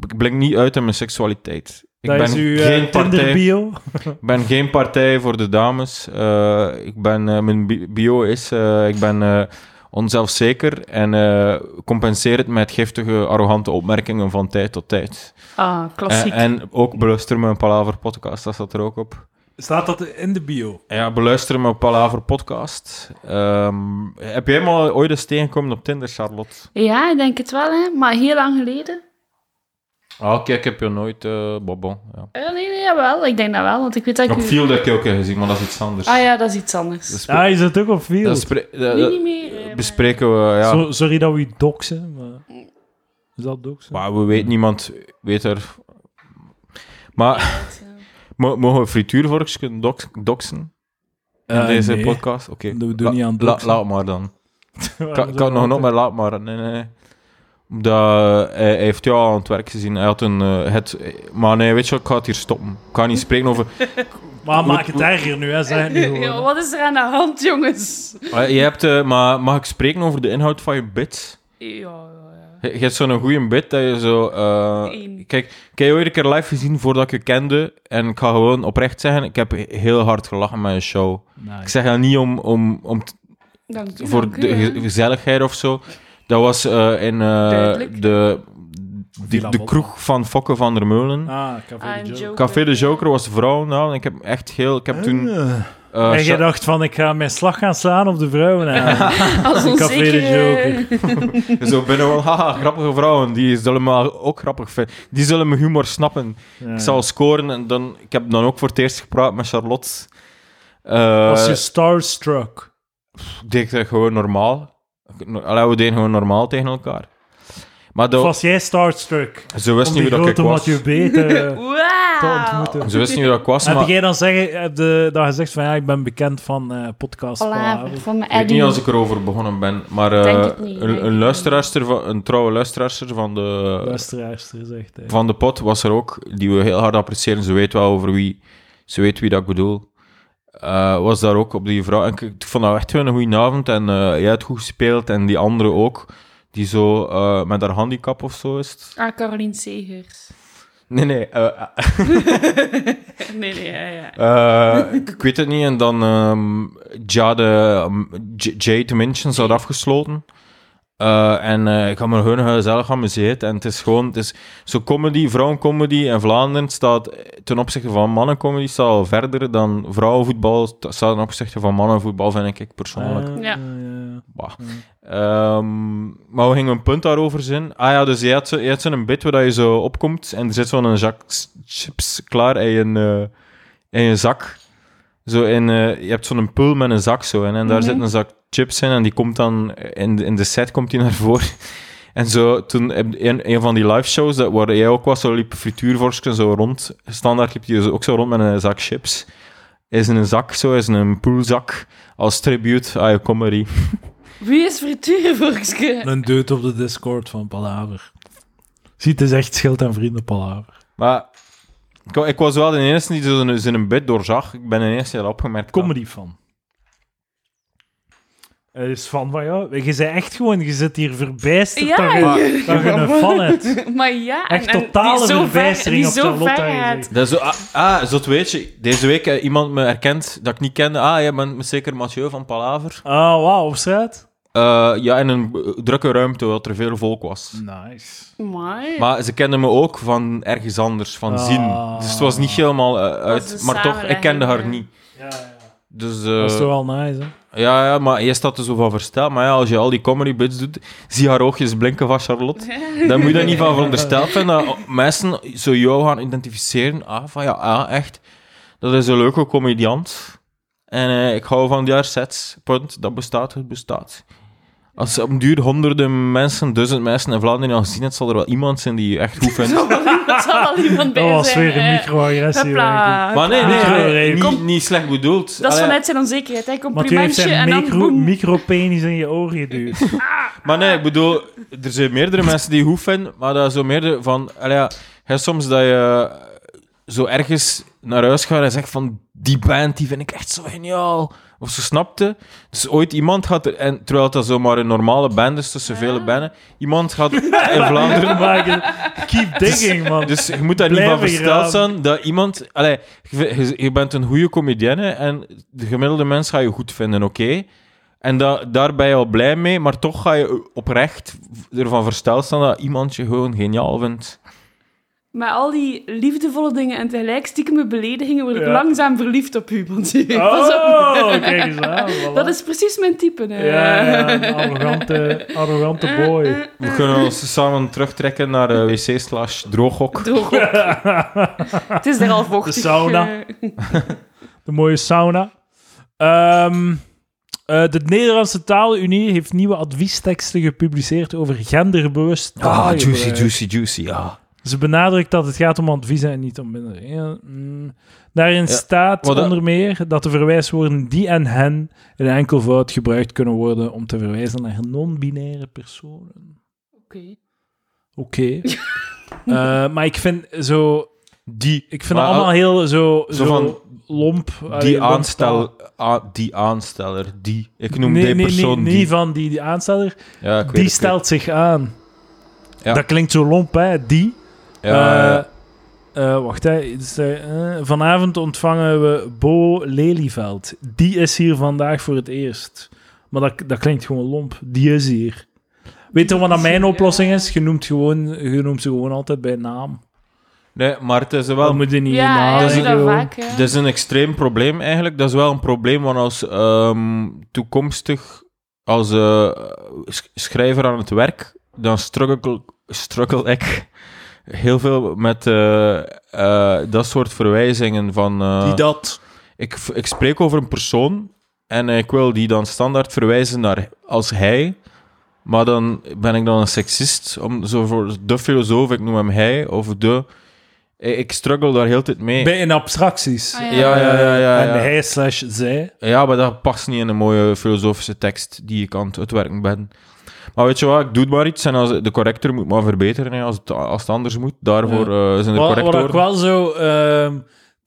ik blink niet uit in mijn seksualiteit. Ik Dat ben, is uw eh, geen partij, Tinder-bio. ik ben geen partij voor de dames. Eh, ik ben, eh, mijn bi- bio is, eh, ik ben eh, onzelfzeker en eh, compenseer het met giftige, arrogante opmerkingen van tijd tot tijd. Ah, En, klassiek. en ook beluister mijn Palaver podcast, dat staat er ook op. Staat dat in de bio? Ja, beluister mijn Palaver podcast. Ehm, heb jij maar ooit eens tegengekomen op Tinder, Charlotte? Ja, ik denk het wel, hè. Maar heel lang geleden. Ah, oké, ik heb je nooit, eh Bobo. Ja. Eh, nee, nee, jawel. Ik denk dat wel, want ik weet dat ik... Op u- Field heb ik je ook een gezien, maar dat is iets anders. Ah ja, dat is iets anders. Dat spre- Ja, je zit ook op dat Ah, Field. spre- eh, nu dat niet meer. eh, maar- bespreken we, ja. Zo- sorry dat we u doxen, maar... Is dat doxen? Maar we weten, niemand weet er... Maar mo- mogen we frituurvorkjes kunnen dox- doxen? In Eh, deze nee. podcast? Oké. We doen niet aan La- doxen. Laat maar dan. Waarom kan, zou kan nog dat nog maar laat maar. Nee, nee. nee. Omdat eh, hij, hij heeft jou al aan het werk gezien. Hij had een. eh, het, maar nee, weet je wat, ik ga het hier stoppen. Ik kan niet spreken over. doen? Maar maak het erger nu, hè. Zeg het nu gewoon. Ja, wat is er aan de hand, jongens? Eh, je hebt, eh, maar mag ik spreken over de inhoud van je bits? Ja, ja, ja. Je, je hebt zo'n goede bit dat je zo. eh, Eén. kijk, ik heb je ooit een keer live gezien voordat ik je kende. En ik ga gewoon oprecht zeggen, ik heb heel hard gelachen met je show. Ik zeg dat niet om, om, om t- Dank u, voor dank u, de hè. ge- gezelligheid of zo. Dat was eh, in eh, Duidelijk. de, de, Villa de Bob. kroeg van Fokke van der Meulen. Ah, Café Ah, de Joe. Joker. Café de Joker was de vrouw. Nou, en ik heb echt heel... Ik heb toen... Ah. eh, en je Sha- dacht van, ik ga mijn slag gaan slaan op de vrouwen. Als Café de onzekere- Joker. zo binnen wel, haha, grappige vrouwen. Die zullen me ook grappig vinden. Die zullen mijn humor snappen. Ik zal scoren. En dan, ik heb dan ook voor het eerst gepraat met Charlotte. Eh, Was je starstruck? deed ik dat gewoon normaal. Allee, we deden gewoon normaal tegen elkaar. Maar Of dat, was jij starstruck? ze Om wist niet die wie dat ik grote was. Mathieu Beter te Wauw! ontmoeten. Ze wist niet wie dat ik was, maar... Heb jij dan, zeggen, heb je dan gezegd van, ja, ik ben bekend van eh podcast Palaver Palaver? van Ik weet Eddie. niet als ik erover begonnen ben, maar Denk eh, het niet, denk een, het een, niet. luisteraarster van, een trouwe luisteraarster van de, Luisteraarster zegt hij. van de pot was er ook, die we heel hard appreciëren. Ze weet wel over wie, ze weet wie dat ik bedoel. Eh, was daar ook op die vrouw. En ik, ik vond dat echt wel een goede avond en eh, jij hebt goed gespeeld en die andere ook. Die zo eh, met haar handicap of zo is. het. Ah, Caroline Segers. Nee, nee. eh, Nee, nee, ja, ja. Eh, ik ik weet het niet. En dan ehm Jade, ehm, J- Jade Minchins had afgesloten. Eh, en eh, ik had me gewoon gezellig amuseerd. En het is gewoon, het is zo comedy, vrouwencomedy in Vlaanderen staat eh, ten opzichte van mannencomedy staat al verder dan vrouwenvoetbal sta- staat ten opzichte van mannenvoetbal, vind ik persoonlijk. Ah, Ja. Bah. Ehm, maar we gingen een punt daarover zin. Ah ja, dus je hebt, zo- je hebt zo'n bit waar dat je zo opkomt en er zit zo'n zak s- chips klaar in je, eh, in je zak. Zo in, eh, je hebt zo'n pul met een zak zo in, en daar zit een zak chips in en die komt dan in, de- in de set komt die naar voren. En zo, toen heb- in een van die live shows dat, waar jij ook was, zo liep frituurvorstken zo rond. Standaard liep je ook zo rond met een zak chips. Is in een zak zo, is in een poolzak als tribute aan je comedy. Wie is frituur, volkske? Een dude op de Discord van Palaver. Ziet, het is echt schild en vrienden Palaver. Maar ik, wa- ik was wel de eerste die zo'n zijn een bed doorzag. Ik ben de eerste die dat opgemerkt had. Comedy fan. Hij is fan van jou. Je zei echt gewoon, je zit hier verbijsterd Ja, dat, je, je- dat je een fan hebt. Maar ja, Echt en, en totale die zo ver, verbijstering die op zo Charlotte. ver eigenlijk. gaat. Dat is zo, ah, ah, zo weet je. Deze week eh, iemand me herkent dat ik niet kende. Ah, jij bent zeker Mathieu van Palaver. Ah, wauw, op straat? Eh, ja, in een eh, drukke ruimte, wat er veel volk was. Nice. Amai. Maar ze kenden me ook van ergens anders, van Ah. zien. Dus het was niet helemaal eh, Was uit. de Maar toch, ik kende haar samenleving, niet. Ja, ja. Dus, eh, Dat is toch wel nice, hè? ja, ja, maar je staat er zo van versteld. Maar ja, als je al die comedy bits doet, zie haar oogjes blinken van Charlotte. Dan moet je daar niet van verondersteld zijn dat mensen zo jou gaan identificeren. Ah, van ja, ah, echt. Dat is een leuke comediant. En eh, ik hou van die haar sets. Punt. Dat bestaat, het bestaat. Als op een duur honderden mensen, duizend mensen in Vlaanderen al gezien het, zal er wel iemand zijn die je echt goed vindt. Dat zal wel iemand bij Dat was zijn. weer een eh, microagressie. denk ik. hopla, Maar nee, nee, Micro- nee, nee, niet- kom. niet, slecht bedoeld. Dat is Allee, vanuit zijn onzekerheid. Hij Mathieu heeft complimentje en zijn dan micro, boem. micropenis in je oor geduwd. Maar nee, ik bedoel, er zijn meerdere mensen die goed vinden, maar dat is zo meerdere van... Allee, ja, hè, soms dat je zo ergens naar huis gaat en zegt van... Die band, die vind ik echt zo geniaal. Of ze snapte. Dus ooit iemand gaat er... En terwijl dat zomaar een normale band is tussen vele banden. Iemand gaat in Vlaanderen... Maar je- Keep digging, man. Dus je moet daar niet Blijven van versteld graven. zijn dat iemand... Allee, je, je- je bent een goede comedienne en de gemiddelde mens ga je goed vinden, oké. En da, daar ben je al blij mee, maar toch ga je oprecht ervan versteld staan dat iemand je gewoon geniaal vindt. Maar al die liefdevolle dingen en tegelijk stiekeme beledigingen word ik Ja. langzaam verliefd op u, Mathieu. Pas op. Oh, kijk eens aan. voilà. Dat is precies mijn type. hè. Ja, ja, Eh. een arrogante, arrogante boy. We kunnen ons samen terugtrekken naar eh, wc slash drooghok. Droog op. Het is daar al vochtig. De sauna. eh. De mooie sauna. Ehm, eh, de Nederlandse Taalunie heeft nieuwe adviesteksten gepubliceerd over genderbewust Ah, taalgebruik. juicy, juicy, juicy, ja. Ze benadrukt dat het gaat om adviezen en niet om minder. Ja, mm. Daarin staat wat eh? dat- onder meer dat de verwijswoorden die en hen in enkelvoud gebruikt kunnen worden om te verwijzen naar non-binaire personen. Oké. Oké. Eh, maar ik vind zo... Die, Ik vind Maar het allemaal heel zo, zo zo, van, lomp. Allee, die, lomp aanstel, taal. a- die aansteller, die. Ik noem nee, die nee, persoon nee, die. niet van die, die aansteller. ja, ik weet het, ik weet Die het. stelt zich aan. Ja. Dat klinkt zo lomp, hè? Die. Ja, ja, ja. Eh, eh, wacht, hè. Het is, eh, eh, vanavond ontvangen we Bo Lelyveld. Die is hier vandaag voor het eerst. Maar dat, dat klinkt gewoon lomp. Die is hier. Weet je wat dan mijn oplossing is? Je noemt, gewoon, je noemt ze gewoon altijd bij naam. Nee, maar het is wel Dan moet je niet in Ja, naam hij dat is doet dat gewoon. vaak. hè. Dat is een extreem probleem eigenlijk. Dat is wel een probleem, want als ehm, toekomstig, als eh, sch- schrijver aan het werk, dan struggle, struggle ik heel veel met eh, eh, dat soort verwijzingen van... eh, Die dat. ik, ik spreek over een persoon en ik wil die dan standaard verwijzen naar als hij. Maar dan ben ik dan een seksist. Om, zo voor de filosoof, ik noem hem hij of de... Ik ik struggle daar heel de tijd mee. Bij in abstracties. Ah, Ja, ja. ja, ja, ja. En ja. hij slash zij. Ja, maar dat past niet in een mooie filosofische tekst die ik aan het uitwerken ben. Maar weet je wat, ik doe maar iets en als de corrector moet maar verbeteren hè, als, het, als het anders moet. Daarvoor eh, zijn de Wat, wat correctoren. ik wel zo... ehm,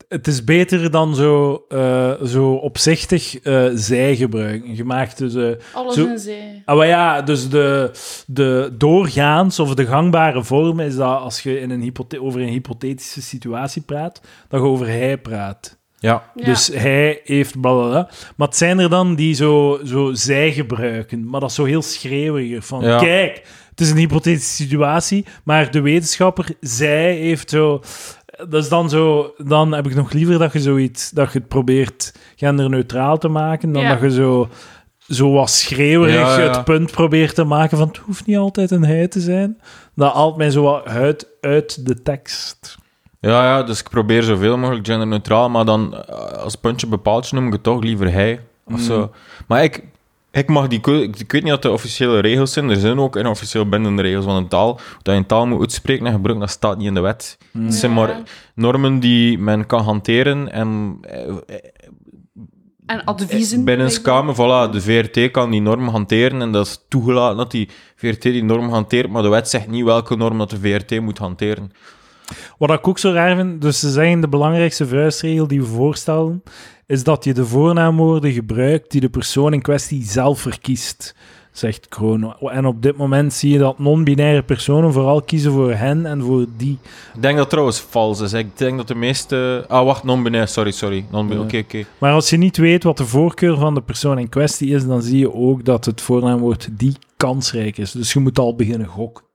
het is beter dan zo, eh, zo opzichtig eh, zij gebruiken. Je maakt dus... eh, Alles zo- in zee. Ah, maar ja, dus de, de doorgaans of de gangbare vorm is dat als je in een hypothe- over een hypothetische situatie praat, dat je over hij praat. Ja, Ja. Dus hij heeft blablabla. Maar het zijn er dan die zo, zo zij gebruiken, maar dat is zo heel schreeuwiger. Van Ja. kijk, het is een hypothetische situatie, maar de wetenschapper, zij heeft zo. Dat is dan zo. Dan heb ik nog liever dat je zoiets. dat je het probeert genderneutraal te maken, dan Ja. dat je zo. Zo wat schreeuwerig Ja, ja. het punt probeert te maken van het hoeft niet altijd een hij te zijn. Dat haalt mij zo wat uit, uit de tekst. ja, ja, dus ik probeer zoveel mogelijk genderneutraal, maar dan eh, als puntje bepaaldje noem ik het toch liever hij. Of zo. Maar ik, ik mag die... keu- Ik, ik weet niet wat de officiële regels zijn. Er zijn ook inofficieel bindende regels van een taal. Dat je een taal moet uitspreken en gebruiken, dat staat niet in de wet. Het zijn Ja. maar normen die men kan hanteren en eh, En adviezen. Binnenskamer, voilà, de VRT kan die norm hanteren en dat is toegelaten dat die VRT die norm hanteert, maar de wet zegt niet welke norm dat de VRT moet hanteren. Wat ik ook zo raar vind, dus ze zeggen de belangrijkste vuistregel die we voorstellen, is dat je de voornaamwoorden gebruikt die de persoon in kwestie zelf verkiest, zegt Kroon. En op dit moment zie je dat non-binaire personen vooral kiezen voor hen en voor die. Ik denk dat trouwens vals is. Ik denk dat de meeste... Ah, wacht, non-binair, sorry, sorry. Non Ja. Dus- Oké, oké. Maar als je niet weet wat de voorkeur van de persoon in kwestie is, dan zie je ook dat het voornaamwoord die kansrijk is. Dus je moet al beginnen gokken.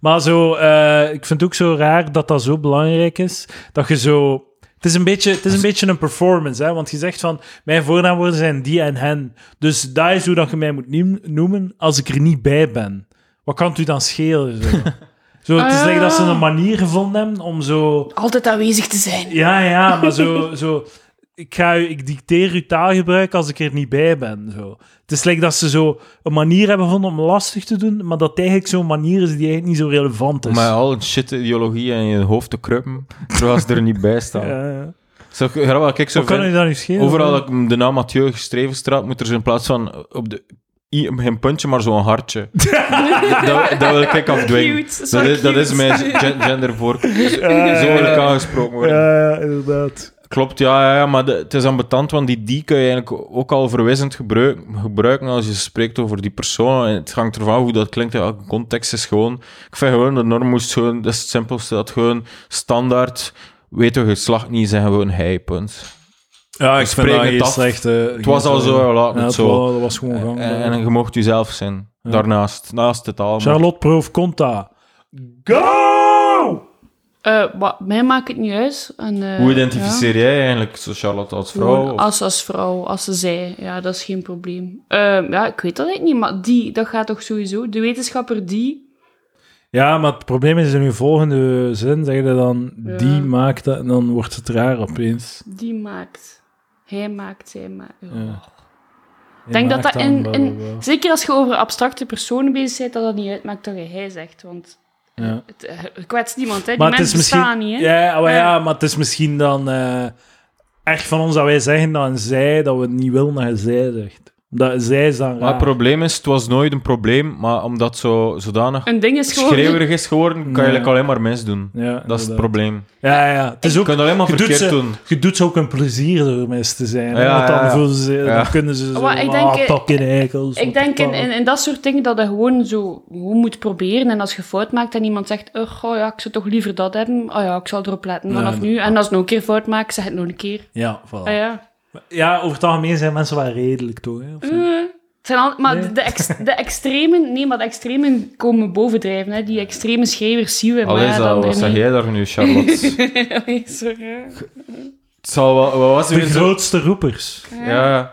Maar zo, eh, ik vind het ook zo raar dat dat zo belangrijk is. Dat je zo. Het is een beetje, het is een, beetje een performance, hè? want je zegt van. Mijn voornaamwoorden zijn die en hen. Dus dat is hoe dat je mij moet niem- noemen als ik er niet bij ben. Wat kan het u dan schelen? Zo? zo, het is Ah. like dat ze een manier gevonden hebben om zo. Altijd aanwezig te zijn. Ja, ja, maar zo, zo. ik, ga, u- ik dicteer uw taalgebruik als ik er niet bij ben. Zo. Het is like dat ze zo een manier hebben gevonden om lastig te doen, maar dat het eigenlijk zo'n manier is die eigenlijk niet zo relevant is. Om met al een shit ideologie in je hoofd te kruipen, terwijl ze er niet bij staan. Ja, ja. Zo, grappig, kijk, zo Wat kan vind- u daar nu schelen? Overal dat ik de naam Mathieu geschreven straat, moet er zo in plaats van op de i geen puntje, maar zo'n hartje. dat, dat wil ik afdwingen. Cute, zo dat, is, dat cute. is mijn gen- gendervoor. Zo wil ik aangesproken worden. Ja, ja, inderdaad. Klopt, ja, ja, ja, maar de- het is ambetant, want die die kun je eigenlijk ook al verwijzend gebruiken, gebruiken als je spreekt over die persoon. En het hangt ervan af hoe dat klinkt. Ja, context is gewoon... Ik vind gewoon, de norm moest gewoon... Dat is het simpelste, dat gewoon standaard... Weet je geslacht niet, zeggen gewoon hij, punt. Ja, ik vind dat heel slecht, Het was al zo, laat Ja, het het zo. was, dat was gewoon gang. En, en je mocht jezelf zijn. Ja. Daarnaast. Naast het allemaal. Charlotte Proof Conta. Go! Eh, wat- mij maakt het niet uit. En, eh, Hoe identificeer jij eigenlijk zo Charlotte als ja. vrouw? Gewoon of- Als, als vrouw, als ze zij. Ja, dat is geen probleem. Eh, ja, ik weet dat eigenlijk niet, maar die, dat gaat toch sowieso. De wetenschapper die... Ja, maar het probleem is in uw volgende zin zeg je dan Ja. die maakt dat en dan wordt het raar opeens. Die maakt. Hij maakt, zij maakt. Ja. Ja. Ik denk dat Maakt dat dan in, bla, in- bla, bla. Zeker als je over abstracte personen bezig bent, dat dat niet uitmaakt dat je hij zegt. Want eh, Ja. het, eh, het kwetst niemand, hè. Die Maar het is mensen bestaan misschien. niet, hè. Ja, maar ja, Ja. maar het is misschien dan eh echt van ons dat wij zeggen dan zij dat we het niet willen dat je zij zegt. Dat zij is dan Maar raar. het probleem is, het was nooit een probleem, maar omdat zo zodanig Een ding is gewoon... schreeuwerig is geworden, kan je Nee. eigenlijk alleen maar misdoen. ja, Dat is het inderdaad. probleem. Ja, ja. Het is Je ook, kunt alleen maar je doet ze- verkeerd doen. je doet ze ook een plezier door mensen te zijn. hè, Ja, want dan, ja, ja. voelen ze, Ja. dan kunnen ze zo. Maar ik ah, denk- tak in eikels. Ik denk in, in, in dat soort dingen dat je gewoon zo gewoon moet proberen. En als je fout maakt en iemand zegt, oh, goh, ja, ik zou toch liever dat hebben. Oh ja, ik zal erop letten vanaf nee. nu. En als ik nog een keer fout maak, zeg het nog een keer. Ja, voilà. Ah, ja. Ja, over het algemeen zijn mensen wel redelijk, toch? Hè? Of Mm. niet? Het zijn al, maar Nee. de, de, ex- de extremen, nee, maar de extremen komen bovendrijven. Hè. Die extreme schreeuwers zien we. Allee, maar Zal, dan wat zeg jij daar nu, Charlotte? Allee, sorry. het zal wel, wat was er De weer zo... grootste roepers. Ja.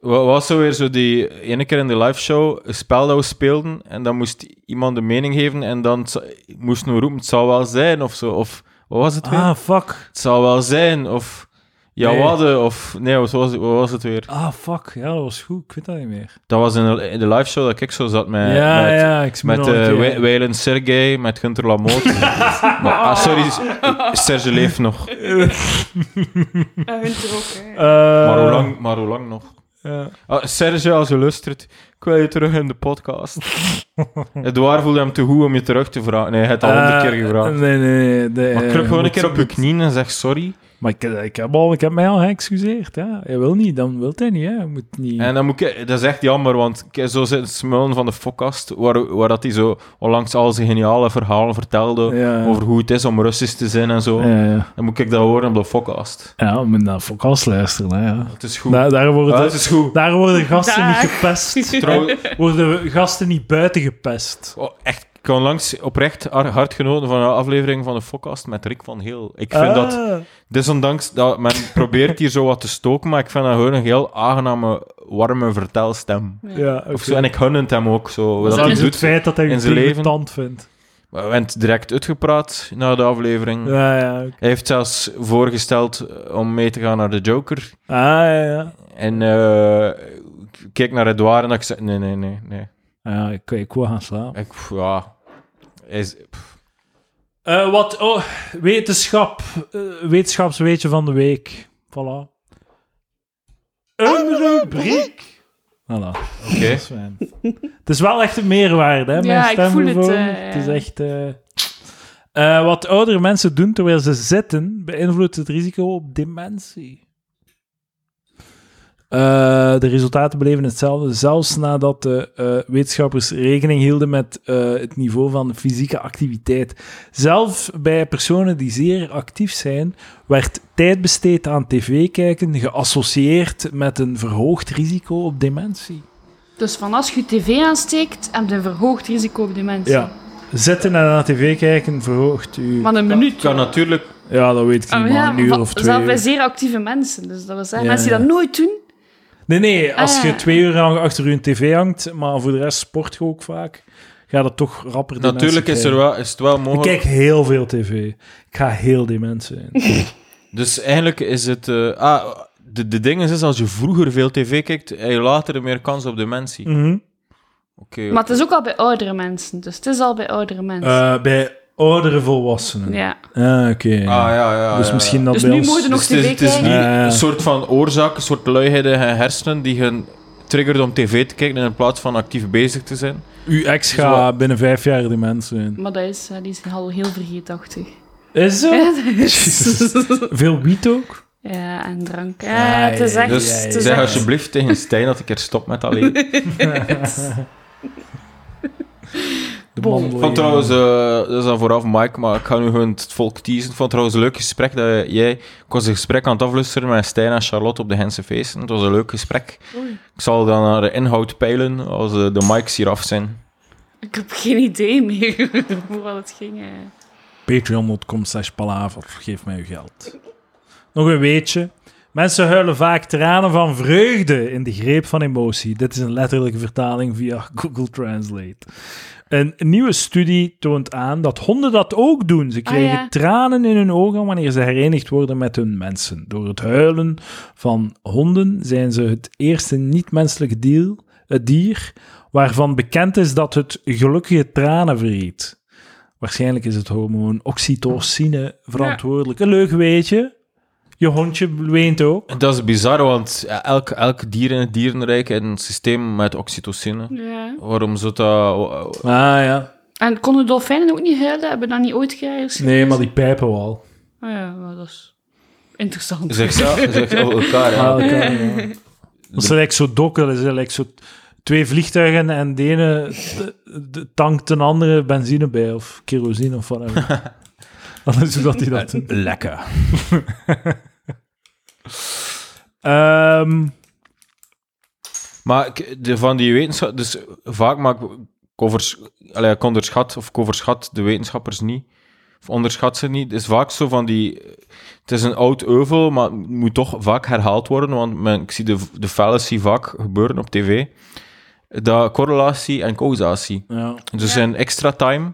Wat was zo weer zo die ene keer in de liveshow, een spel dat we speelden, en dan moest iemand een mening geven, en dan het z- moesten we roepen, het zal wel zijn, of zo. Of, wat was het weer? Ah, fuck. Het zal wel zijn, of... Ja, Nee. wadden, of... Nee, wat was, wat was het weer? Ah, fuck. Ja, dat was goed. Ik weet dat niet meer. Dat was in de, in de liveshow dat ik zo zat met... ja, met, ja, ik smeer Met nog een eh keer. Wij- Weilen Sergej, met Gunter Lamotte. maar, ah, sorry, Serge leeft nog. Ja, hun er ook, hè. Eh, Maar hoe lang, maar hoe lang nog? ja. Ah, Serge, als je luistert, ik wil je terug in de podcast. Edouard voelde hem te goed om je terug te vragen. Nee, hij had al honderd Eh, keer gevraagd. Nee, nee, nee. de- maar eh, kruip gewoon een moet- keer op je knieën en zeg sorry. Maar ik, ik, heb al, ik heb mij al geëxcuseerd. Ja. Hij wil niet, dan wil hij niet. Hè. Hij moet niet. En dan moet ik, dat is echt jammer, want ik- zo zit het smullen van de fokkast, waar, waar dat hij zo onlangs al zijn geniale verhalen vertelde Ja. over hoe het is om Russisch te zijn en zo. Ja, Dan moet ik dat horen op de fokkast. ja, we moeten naar Focas luisteren. Hè, ja. Het is goed. Daar, daar Ah, worden, het is goed. daar worden gasten Daar. niet gepest. Trouw- worden gasten niet buiten gepest. Oh, echt, ik kan langs oprecht har- hard genoten van een aflevering van de Fokkast met Rick van Heel. Ik vind dat, Ah. desondanks dat men probeert hier zo wat te stoken, maar ik vind dat gewoon een heel aangename, warme vertelstem. Ja, oké. Of zo, en ik gun het hem ook zo. Wat Dat, dat hij is het doet. feit dat hij in een zijn leven. tand vindt. We hebben direct uitgepraat na de aflevering. Ja, ja. oké. Hij heeft zelfs voorgesteld eh, om mee te gaan naar de Joker. Ah, ja, ja. En eh, ik keek naar Edouard en ik zei: Nee, nee, nee, nee. Ja, ik, ik wil gaan slapen. Ik, pff, ja. Hij is- pff. Eh, wat, oh, wetenschap. eh, wetenschapsweetje van de week. Voilà. Een rubriek. Voilà. Oké. Dat is fijn. het is wel echt een meerwaarde, hè? Mijn Ja, ik stem voel het, gewoon. eh, het is ja. echt. eh, eh, wat oudere mensen doen terwijl ze zitten, beïnvloedt het risico op dementie. Eh, de resultaten bleven hetzelfde, zelfs nadat de eh, wetenschappers rekening hielden met eh, het niveau van fysieke activiteit. Zelfs bij personen die zeer actief zijn, werd tijd besteed aan tv-kijken geassocieerd met een verhoogd risico op dementie. Dus van als je tv aansteekt, heb je een verhoogd risico op dementie. Ja. Zitten en naar tv kijken verhoogt u. Van een Ik minuut. kan natuurlijk Ja, dat weet ik niet, Ah, maar ja, een uur van- of twee Zelfs bij uur. zeer actieve mensen. Dus dat wil zeggen, Ja, mensen die ja. dat nooit doen. Nee, nee, als Ah, je ja. twee uur lang achter je tv hangt, maar voor de rest sport je ook vaak, ga dat toch rapper dementie Natuurlijk is, er krijgen. wel, is het wel Ik mogelijk. kijk heel veel tv. Ik ga heel dement zijn. Dus eigenlijk is het. eh, ah, de, de ding is, is, als je vroeger veel tv kijkt, heb je later meer kans op dementie. Oké. Mhm. Mm. Maar het is ook al bij oudere mensen, dus het is al bij oudere mensen. Eh, bij oudere Eh, volwassenen. ja. Ah, oké. Ah, ja, ja. dus ja, misschien ja. dat Dus bij nu ons... moeten nog het is, tv het is niet kijken. Ja. een soort van oorzaak, een soort luiheid in je hersenen die je triggert om tv te kijken in plaats van actief bezig te zijn. Uw ex Dus gaat binnen vijf jaar de mensen in. Maar dat is, eh, die is al heel vergeetachtig. Is zo? Ja, dat is- Eh, Veel wiet ook? ja, en drank. Ja, Ah, het is ja, echt... Dus ja, ja. het is zeg echt- alsjeblieft tegen Stijn dat ik er stop met alleen. De Bon. man wil Ik vond je- trouwens, eh, dat is dan vooraf Mike, maar ik ga nu gewoon het volk teasen. Ik vond trouwens een leuk gesprek dat jij... Ik was een gesprek aan het afluisteren met Stijn en Charlotte op de Hense Feesten. Het was een leuk gesprek. Ik zal dan naar de inhoud peilen als eh, de mics hier af zijn. Ik heb geen idee meer hoe wat het ging. eh. Patreon.com slash palaver. Geef mij uw geld. Nog een weetje. Mensen huilen vaak tranen van vreugde in de greep van emotie. Dit is een letterlijke vertaling via Google Translate. Een nieuwe studie toont aan dat honden dat ook doen. Ze krijgen ja. tranen in hun ogen wanneer ze herenigd worden met hun mensen. Door het huilen van honden zijn ze het eerste niet-menselijk dier, eh, dier waarvan bekend is dat het gelukkige tranen vreet. Waarschijnlijk is het hormoon oxytocine verantwoordelijk. Een leuk weetje. Je hondje weent ook. Dat is bizar, want elk, elk dier in het dierenrijk heeft een systeem met oxytocine. Ja. Waarom zou dat... Ah ja. En konden dolfijnen ook niet huilen? Hebben we dat niet ooit gekregen? Nee, maar die pijpen wel. Oh ja, maar dat is interessant. Zeg ze zeg ze over elkaar, hè. Ah, dat kan, ja. Dat zijn like zo dokken. Dat zijn like zo twee vliegtuigen en de ene t- de- tankt een andere benzine bij. Of kerosine of whatever. Dat is hoe dat hij dat doet. Lekker. Ehm, Maar ik- de, van die wetenschap, dus vaak maak ik covers, allee, ik onderschat of ik overschat de wetenschappers niet. Of onderschat ze niet. Het is vaak zo van die. Het is een oud euvel, maar het moet toch vaak herhaald worden. Want men, ik zie de, de fallacy vaak gebeuren op tv. Dat correlatie en causatie. ja. Dus er zijn extra time.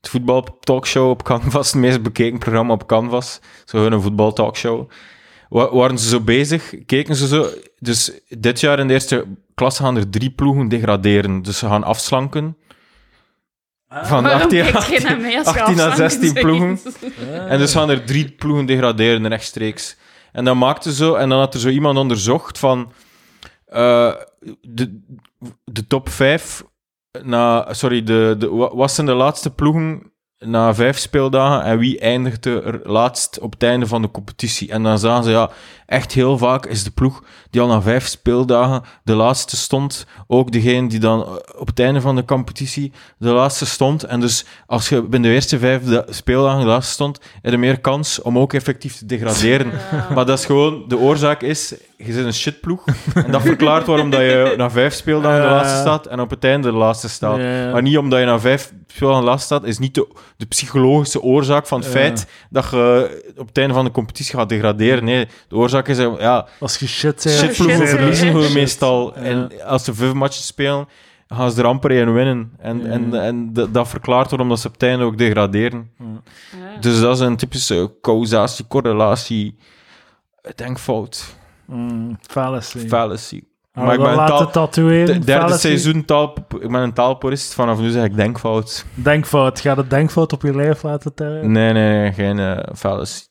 Het voetbal talkshow op Canvas, het meest bekeken programma op Canvas. Zo hun een voetbal talkshow. Wa- waren ze zo bezig? Keken ze zo. Dus dit jaar in de eerste klas gaan er drie ploegen degraderen. Dus ze gaan afslanken. Van Ah. Waarom 18, kijkt geen naar mij als je 18 à afslankt 16 bent? ploegen. eh, En dus gaan er drie ploegen degraderen rechtstreeks. En dat maakte zo, en dan had er zo iemand onderzocht van eh, de, de top vijf. Na, sorry, de, de, wa- wat zijn de laatste ploegen na vijf speeldagen en wie eindigde er laatst op het einde van de competitie? En dan zagen ze, ja, echt heel vaak is de ploeg die al na vijf speeldagen de laatste stond, ook degene die dan eh, op het einde van de competitie de laatste stond. En dus als je binnen de eerste vijf da- speeldagen de laatste stond, heb je meer kans om ook effectief te degraderen. Maar dat is gewoon, de oorzaak is, je zit een shitploeg. En dat verklaart waarom dat je na vijf speeldagen de Ja. laatste staat en op het einde de laatste staat. Ja. Maar niet omdat je na vijf spelen aan last staat, is niet de, de psychologische oorzaak van het Ja. feit dat je op het einde van de competitie gaat degraderen. Nee, de oorzaak is, eh, ja, Als je shit zei, shitploegen shit, verliezen ja. we Shit. meestal. Ja. En als ze vijf matches spelen, gaan ze er amper één winnen. En, Ja. en, en d- dat verklaart waarom dat ze op het einde ook degraderen. Ja. Dus dat is een typische causatie, correlatie, denkfout, Mm, fallacy. fallacy. Gaan we maar ik dat ben laten taal- tatoeëren. De derde Fallacy. seizoen taal, ik ben een taalpurist, vanaf nu zeg ik denkfout. Denkfout. Ga de denkfout op je lijf laten tellen. Nee, nee, nee, geen eh fallacy.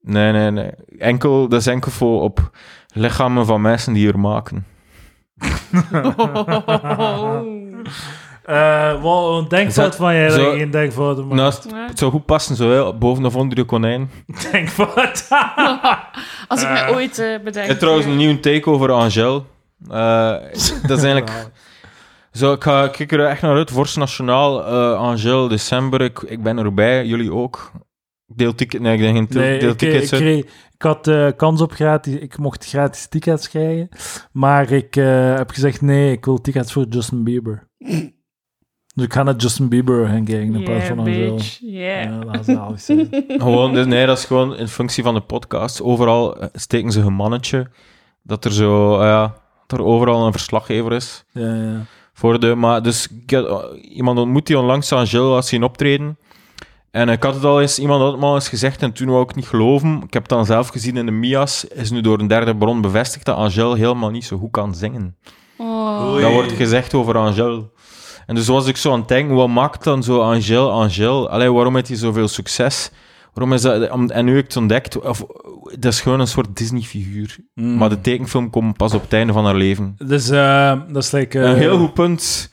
Nee, nee, nee. Enkel, dat is enkel voor op lichamen van mensen die er maken. Oh. Eh, wel een denkfout Zo- van jij, dat zo- je geen denkfout maakt. Naast, Nou, het zou goed passen, zowel boven of onder de konijn. Denkfout. Als ik mij ooit eh, bedenk. En trouwens, een nieuwe takeover Angel. Eh dat is eigenlijk... Zo, ik, ga, ik kijk er echt naar uit. Vorst Nationaal, eh Angel, december. Ik, ik ben erbij, jullie ook. Deel ticket, nee, ik denk geen til- Nee, deel ik, eh, ik, tickets. uit. kreeg- ik had eh, kans op gratis, ik mocht gratis tickets krijgen, maar ik eh, heb gezegd nee, ik wil tickets voor Justin Bieber. dus ik ga naar Justin Bieber gaan kijken in plaats Yeah, van Angel. bitch. Yeah. Ja, dat is zalig zijn. Gewoon, dus nee, dat is gewoon in functie van de podcast. Overal eh, steken ze een mannetje. Dat er zo, eh, ja, dat er overal een verslaggever is. Ja, ja. oh, Voor de, maar dus ik had, eh, iemand ontmoet die onlangs aan Gilles als zien optreden. En ik had het al eens, iemand had het me al eens gezegd en toen wou ik het niet geloven. Ik heb het dan zelf gezien in de Mias, is nu door een derde bron bevestigd dat Angel helemaal niet zo goed kan zingen. Oh. Dat wordt gezegd over Angel. En dus was ik zo aan het denken, wat maakt dan zo Angel Angel? Allee, waarom heeft hij zoveel succes? Waarom is dat, om- en nu heb ik het ontdekt, of, dat is gewoon een soort Disney-figuur. Mm. Maar de tekenfilm komt pas op het einde van haar leven. Dus eh, dat is like, eh, een heel Ah. goed punt.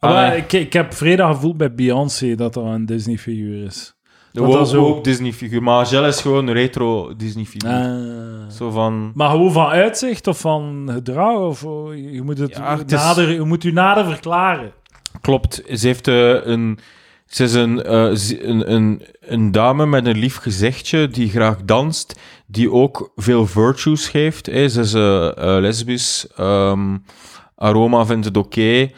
Maar Allee. ik, ik heb vrijdag gevoeld bij Beyoncé dat dat een Disney-figuur is. De Want dat woke, is ook- woke Disney-figuur. Maar Angel is gewoon een retro Disney-figuur. Ah. Zo van... Maar gewoon van uitzicht of van gedrag? Of, oh, je, moet het Ja, het is- nader, je moet u nader verklaren. Klopt. Ze heeft eh, een. Ze is een, eh, ze- een, een, een dame met een lief gezichtje die graag danst, die ook veel virtues geeft. hè. Ze is eh, eh, lesbisch, ehm, aroma vindt het oké. Eh,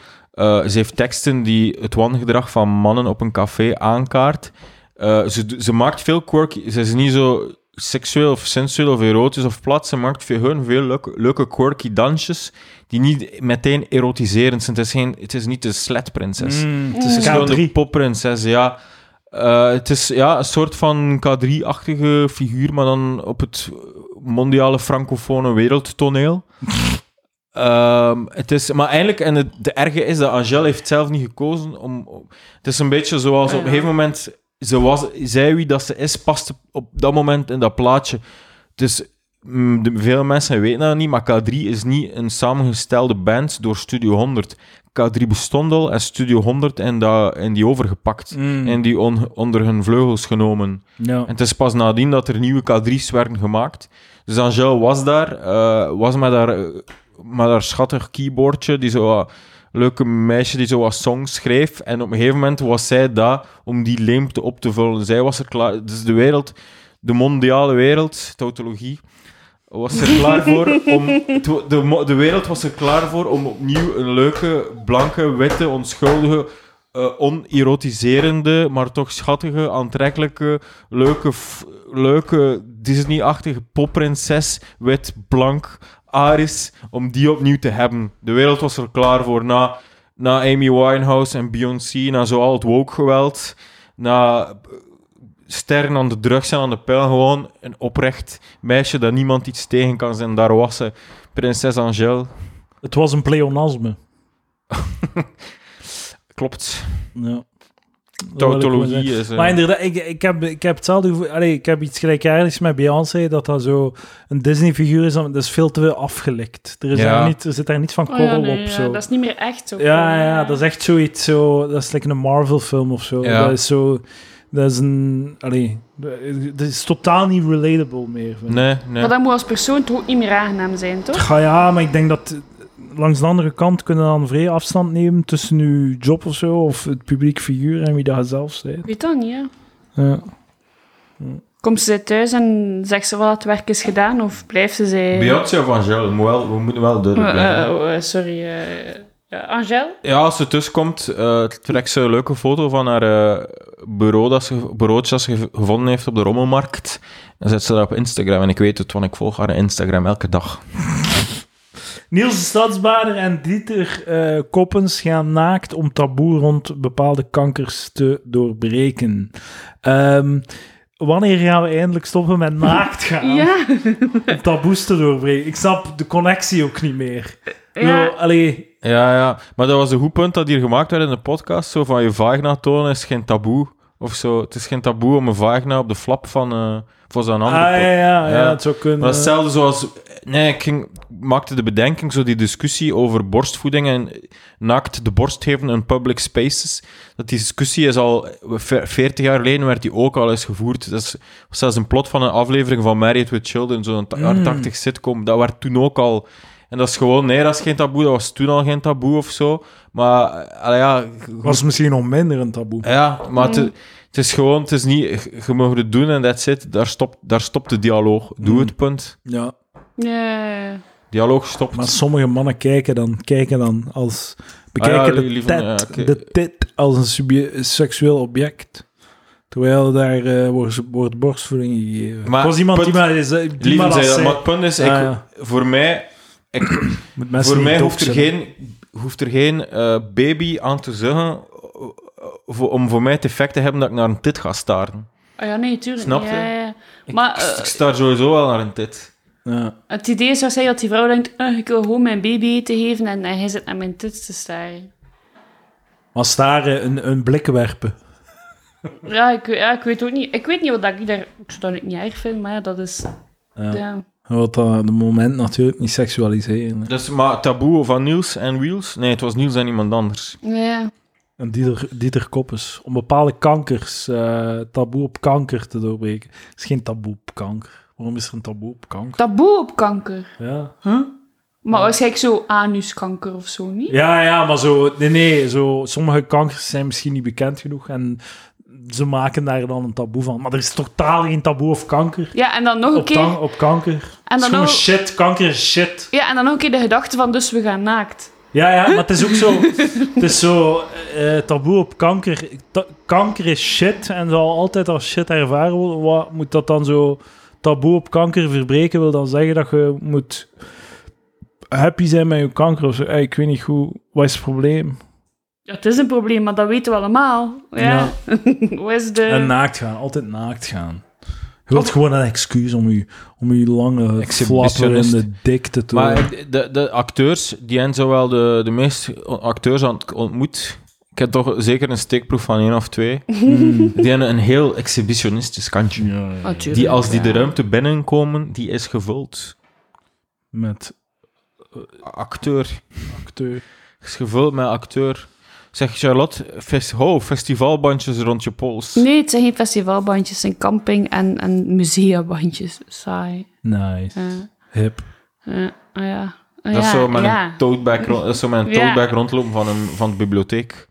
ze heeft teksten die het wangedrag van mannen op een café aankaart. Eh, ze, do- ze maakt veel quirky. Ze is niet zo seksueel of sensueel of erotisch of plat. Ze maakt veel, gewoon veel leuke, leuke quirky dansjes die niet meteen erotiserend zijn. Het is, geen, het is niet de sletprinses. Mm, het Het is is gewoon de K3. popprinses, ja. Eh, het is ja, een soort van K3-achtige figuur, maar dan op het mondiale francofone wereldtoneel. Ehm, het is, maar eigenlijk, en het de erge is dat Angèle heeft zelf niet gekozen om... om- Het is een beetje zoals op een gegeven moment... Ze was, zij wie dat ze is, paste op dat moment in dat plaatje. Dus mm, de- veel mensen weten dat niet, maar K3 is niet een samengestelde band door Studio 100. K3 bestond al en Studio 100 en, dat, en die overgepakt. Mm. En die on- onder hun vleugels genomen. Ja. En het is pas nadien dat er nieuwe K3's werden gemaakt. Dus Angel was daar, eh, was met haar, eh, met haar schattig keyboardje, die zo wat- leuke meisje die zo wat songs schreef. En op een gegeven moment was zij daar om die leemte op te vullen. Zij was er klaar, dus de wereld, de mondiale wereld, tautologie, was er klaar voor om, het wa- de, mo- de wereld was er klaar voor om opnieuw een leuke, blanke, witte, onschuldige, eh, onerotiserende, maar toch schattige, aantrekkelijke, leuke, f- leuke Disney-achtige popprinses, wit, blank, Aris, om die opnieuw te hebben. De wereld was er klaar voor na, na Amy Winehouse en Beyoncé, na zo al het woke-geweld, na eh, sterren aan de drugs en aan de pijl, gewoon een oprecht meisje dat niemand iets tegen kan zijn. Daar was ze, prinses Angèle. Het was een pleonasme. Klopt. Ja. Dat wil ik gewoon zeggen. Tautologie is... eh, Maar inderdaad, ik, ik, heb, ik heb hetzelfde gevoel. Allee, ik heb iets gelijkaardigs met Beyoncé, dat dat zo een Disney-figuur is. maar Dat is veel te veel afgelekt. Er, is Ja. daar niet, er zit daar niet van Oh ja, korrel nee, op. ja, Zo. dat is niet meer echt zo. Ja, ja, eh, dat is echt zoiets zo. Dat is like een Marvel-film of zo. Ja. Dat is zo. Dat is een. Allee, dat is totaal niet relatable meer. Vind ik. Nee, nee. Maar dat moet als persoon toch ook niet meer aangenaam zijn, toch? Ga ja, maar ik denk dat. Langs de andere kant kunnen we dan vrij afstand nemen tussen uw job of zo, of het publiek figuur en wie dat je zelf bent. Ik Weet dat niet, ja. Ja. Komt ze thuis en zegt ze wel dat het werk is gedaan, of blijft ze zij... Beyoncé of Angèle, moet wel- we moeten wel Eh, duidelijk blijven. eh, oh, eh, sorry, eh eh, Angèle? Ja, als ze tussenkomt, eh trekt ze een leuke foto van haar eh, bureau dat ze, bureautje dat ze gev- gevonden heeft op de rommelmarkt. En zet ze dat op Instagram. En ik weet het, want ik volg haar Instagram elke dag. Niels de Stadsbader en Dieter eh, Koppens gaan naakt om taboe rond bepaalde kankers te doorbreken. Ehm, wanneer gaan we eindelijk stoppen met naakt gaan Ja. om taboes te doorbreken? Ik snap de connectie ook niet meer. Ja. Zo, allee, Ja, ja. Maar dat was een goed punt dat hier gemaakt werd in de podcast. Zo van je vagina tonen is geen taboe. Of zo. Het is geen taboe om een vagina op de flap van... eh voor zo'n ah, andere ja, podcast. ja, ja, Ja. het zou kunnen. Maar dat is hetzelfde zoals... Nee, ik ging- maakte de bedenking, zo die discussie over borstvoeding en naakt de borst geven in public spaces. Dat die discussie is al... ve- 40 jaar geleden werd die ook al eens gevoerd. Dat is was zelfs een plot van een aflevering van Married with Children, zo'n ta- jaren 80 sitcom. Dat werd toen ook al... En dat is gewoon... Nee, dat is geen taboe. Dat was toen al geen taboe of zo. Maar, eh, allee, ja... was misschien nog minder een taboe. Ja, maar het, het is gewoon, het is niet, je mag het doen en that's it. Daar stopt, daar stopt de dialoog. Doe Mm. het, punt. Ja. Ja. Dialoog stopt. Maar sommige mannen kijken dan, kijken dan als... Bekijken Ah ja, de, liever- tit, ja, oké. de tit als een subje- seksueel object. Terwijl daar eh, wordt, wordt borstvoeding gegeven. Maar Maar, was iemand punt- die maar, is, die maar Lieven dat zei dat, zei. maar het punt is, ik, Ah, ja. voor mij, ik, Moet mensen voor niet mij doof hoeft er zijn. geen, hoeft er geen eh, baby aan te zeggen voor- om voor mij het effect te hebben dat ik naar een tit ga staren. Ah ja, nee, tuurlijk. Snap ja, je? ja, ja. Ik, Maar ik eh, staar sowieso wel naar een tit. Ja. het idee zou zijn dat die vrouw denkt, eh, ik wil gewoon mijn baby eten geven en eh, hij zit naar mijn tits te staren. Maar staren, een, een blik werpen. Ja ik, ja, ik weet ook niet. Ik weet niet wat ik daar... Ik zou dat niet erg vinden, maar ja, dat is... Ja. Wat dat de moment natuurlijk niet seksualiseren. hè. Dus, maar taboe van Niels en Wheels? Nee, het was Niels en iemand anders. Ja. En Dieter, Dieter Koppes. Om bepaalde kankers, eh, taboe op kanker te doorbreken. Er is geen taboe op kanker. Waarom is er een taboe op kanker? Taboe op kanker. Ja, Maar waarschijnlijk zo anuskanker of zo, niet? ja, ja maar zo, nee, nee, zo, sommige kankers zijn misschien niet bekend genoeg. En ze maken daar dan een taboe van. Maar er is totaal geen taboe op kanker. Ja, en dan nog een Op, tan- keer... op kanker. En Het is dan gewoon ook, shit. Kanker is shit. ja, en dan ook een keer de gedachte van, dus we gaan naakt. Ja, ja, maar het is ook zo. Het is zo. eh, taboe op kanker. Ta- kanker is shit en zal altijd als shit ervaren worden. Wat moet dat dan zo. Taboe op kanker verbreken wil dan zeggen dat je moet. happy zijn met je kanker of zo. Eh, ik weet niet goed. Wat is het probleem? Ja, het is een probleem, maar dat weten we allemaal. Ja. eh. Hoe is de... En eh, naakt gaan. Altijd naakt gaan. Je wilt gewoon een excuus om je, om je lange Exhibitionist. flapper in de dikte te Maar ik- de, de acteurs, die zijn zowel de, de meeste acteurs aan het ontmoet. Ik heb toch zeker een steekproef van één of twee. Mm. Die hebben een heel exhibitionistisch kantje. Ja, ja. Natuurlijk, Die als die de ja. ruimte binnenkomen, die is gevuld. Met Acteur. acteur. Is gevuld met acteur. Zeg Charlotte, fes ho, festivalbandjes rond je pols. Nee, het zijn geen festivalbandjes, het zijn camping- en, en museabandjes. Saai. Nice. Eh, Hip. eh, ah ja. Ah Dat is ja, zo met ja. een toteback, ro- dat is zo met een Ja. toteback rondlopen van, een, van de bibliotheek.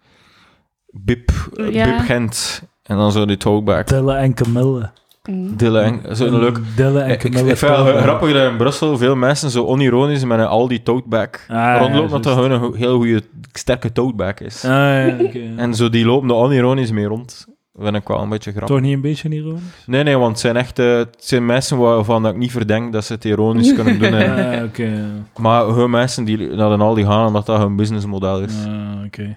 Bip, eh, Ja. Bip Gent. En dan zo die toteback. Tellen en Camille. Mm. Dille en- Zo'n leuk... Dille en Eh, Ik, ik Camille. vind het wel Tellen. grappig dat in Brussel veel mensen zo onironisch met een Aldi toteback Ah, ja, rondlopen, dat dat juist. gewoon een go- heel goede, sterke toteback is. Ah, ja, oké. En zo die lopen er onironisch mee rond. Vind ik wel een beetje grappig. Toch niet een beetje ironisch? Nee, nee, want het zijn echt eh, het zijn mensen waarvan dat ik niet verdenk dat ze het ironisch kunnen doen. hè. Ah, oké. Maar gewoon mensen die naar een Aldi gaan omdat dat hun businessmodel is. Ah, oké.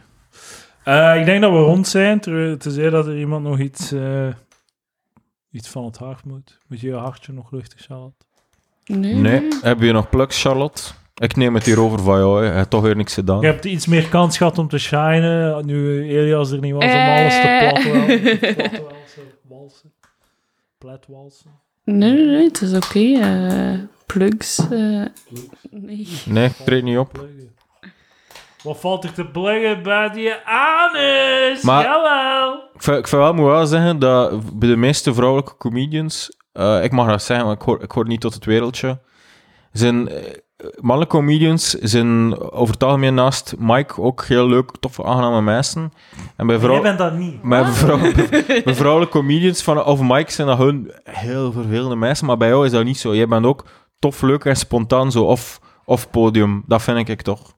Eh, ik denk dat we rond zijn, ter- tenzij dat er iemand nog iets, eh, iets van het hart moet. Moet je je hartje nog luchtig halen? Nee. Nee. Heb je nog plugs, Charlotte? Ik neem het hier over van jou. hè. Je hebt toch weer niks gedaan. Je hebt iets meer kans gehad om te shinen, nu Elias er niet was, om alles te Eh. platwelsen. Platwelsen, walsen. Platwalsen. Nee, nee, nee, het is oké. eh, plugs. eh, nee. Nee, treed niet op. Pluggen. Wat valt er te pluggen bij die anus? Maar- Jawel! Ik vind, ik vind wel, moet wel zeggen dat bij de meeste vrouwelijke comedians, eh, ik mag dat zeggen, want ik hoor, ik hoor niet tot het wereldje, zijn eh, mannelijke comedians zijn over het algemeen naast Mike ook heel leuk, toffe, aangename mensen. En bij Jij vrouwen... bent dat niet. Mijn Ah. vrouw, mijn vrouwelijke comedians van, of Mike zijn dat hun heel vervelende mensen, maar bij jou is dat niet zo. Jij bent ook tof, leuk en spontaan zo off, off podium. Dat vind ik toch.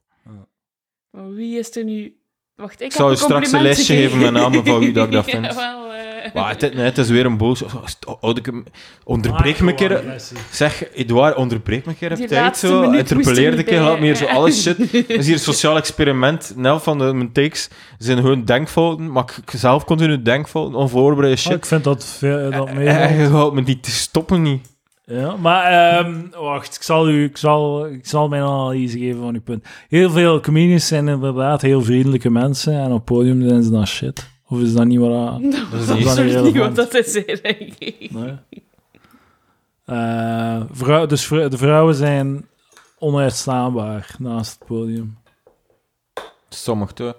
Maar Wie is er nu... Wacht, ik, Ik zou heb je straks een compliment lesje geven met namen van wie dat ik dat gekregen. vind. Jawel, eh. Maar het, nee, het is weer een boos. oh, Houd ik hem- Onderbreek me een keer. Zeg, Edouard, onderbreek me een keer op Die tijd. laatste Zo. minuut moest Interpeleer er een niet keer, bij, laat me hier zo hè. alles shit. Dat is hier een sociaal experiment. Nel van de, mijn takes zijn gewoon denkfouten, maar ik zelf continu denkfouten, onvoorbereide Oh, ik shit. vind dat, veel- dat mee. En je houdt me niet te stoppen niet. Ja, maar ehm, wacht, ik zal, u, ik, zal, ik zal mijn analyse geven van uw punt. Heel veel comedians zijn inderdaad heel vriendelijke mensen en op podium zijn ze dan shit. Of is dat niet wat... dat- Dat is Dat niet is Sorry, niet wat relevant. dat is, eigenlijk. Nee. Eh, vrou- dus vrou- de vrouwen zijn onuitstaanbaar naast het podium. Sommige toch.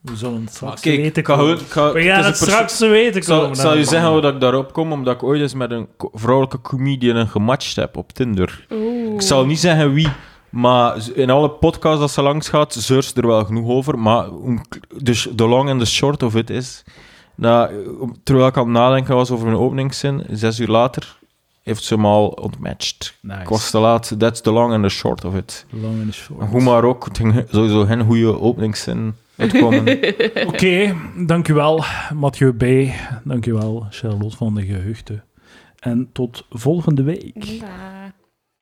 We zullen het straks kijk, te weten ik ga komen. gewoon- ik ga- We het gaan is het een perso- straks te weten Ik zal, komen. ik zal je zeggen hoe dat ik daarop kom, omdat ik ooit eens met een co- vrouwelijke comedian gematcht heb op Tinder. Oeh. Ik zal niet zeggen wie, maar z- in alle podcasts dat ze langs gaat, zeurst er wel genoeg over. Maar om k- dus de long en de short of het is, dat, eh, om- terwijl ik aan het nadenken was over mijn openingszin, zes uur later heeft ze me al ontmatcht. Nice. Ik was te laat, that's the long and the short of it. Lang en short. Maar Hoe maar ook, het ging sowieso geen goede openingszin uitkomen. Oké, dankjewel Mathieu B. Dankjewel Charlotte van de Geheugden. En tot volgende week. Ja.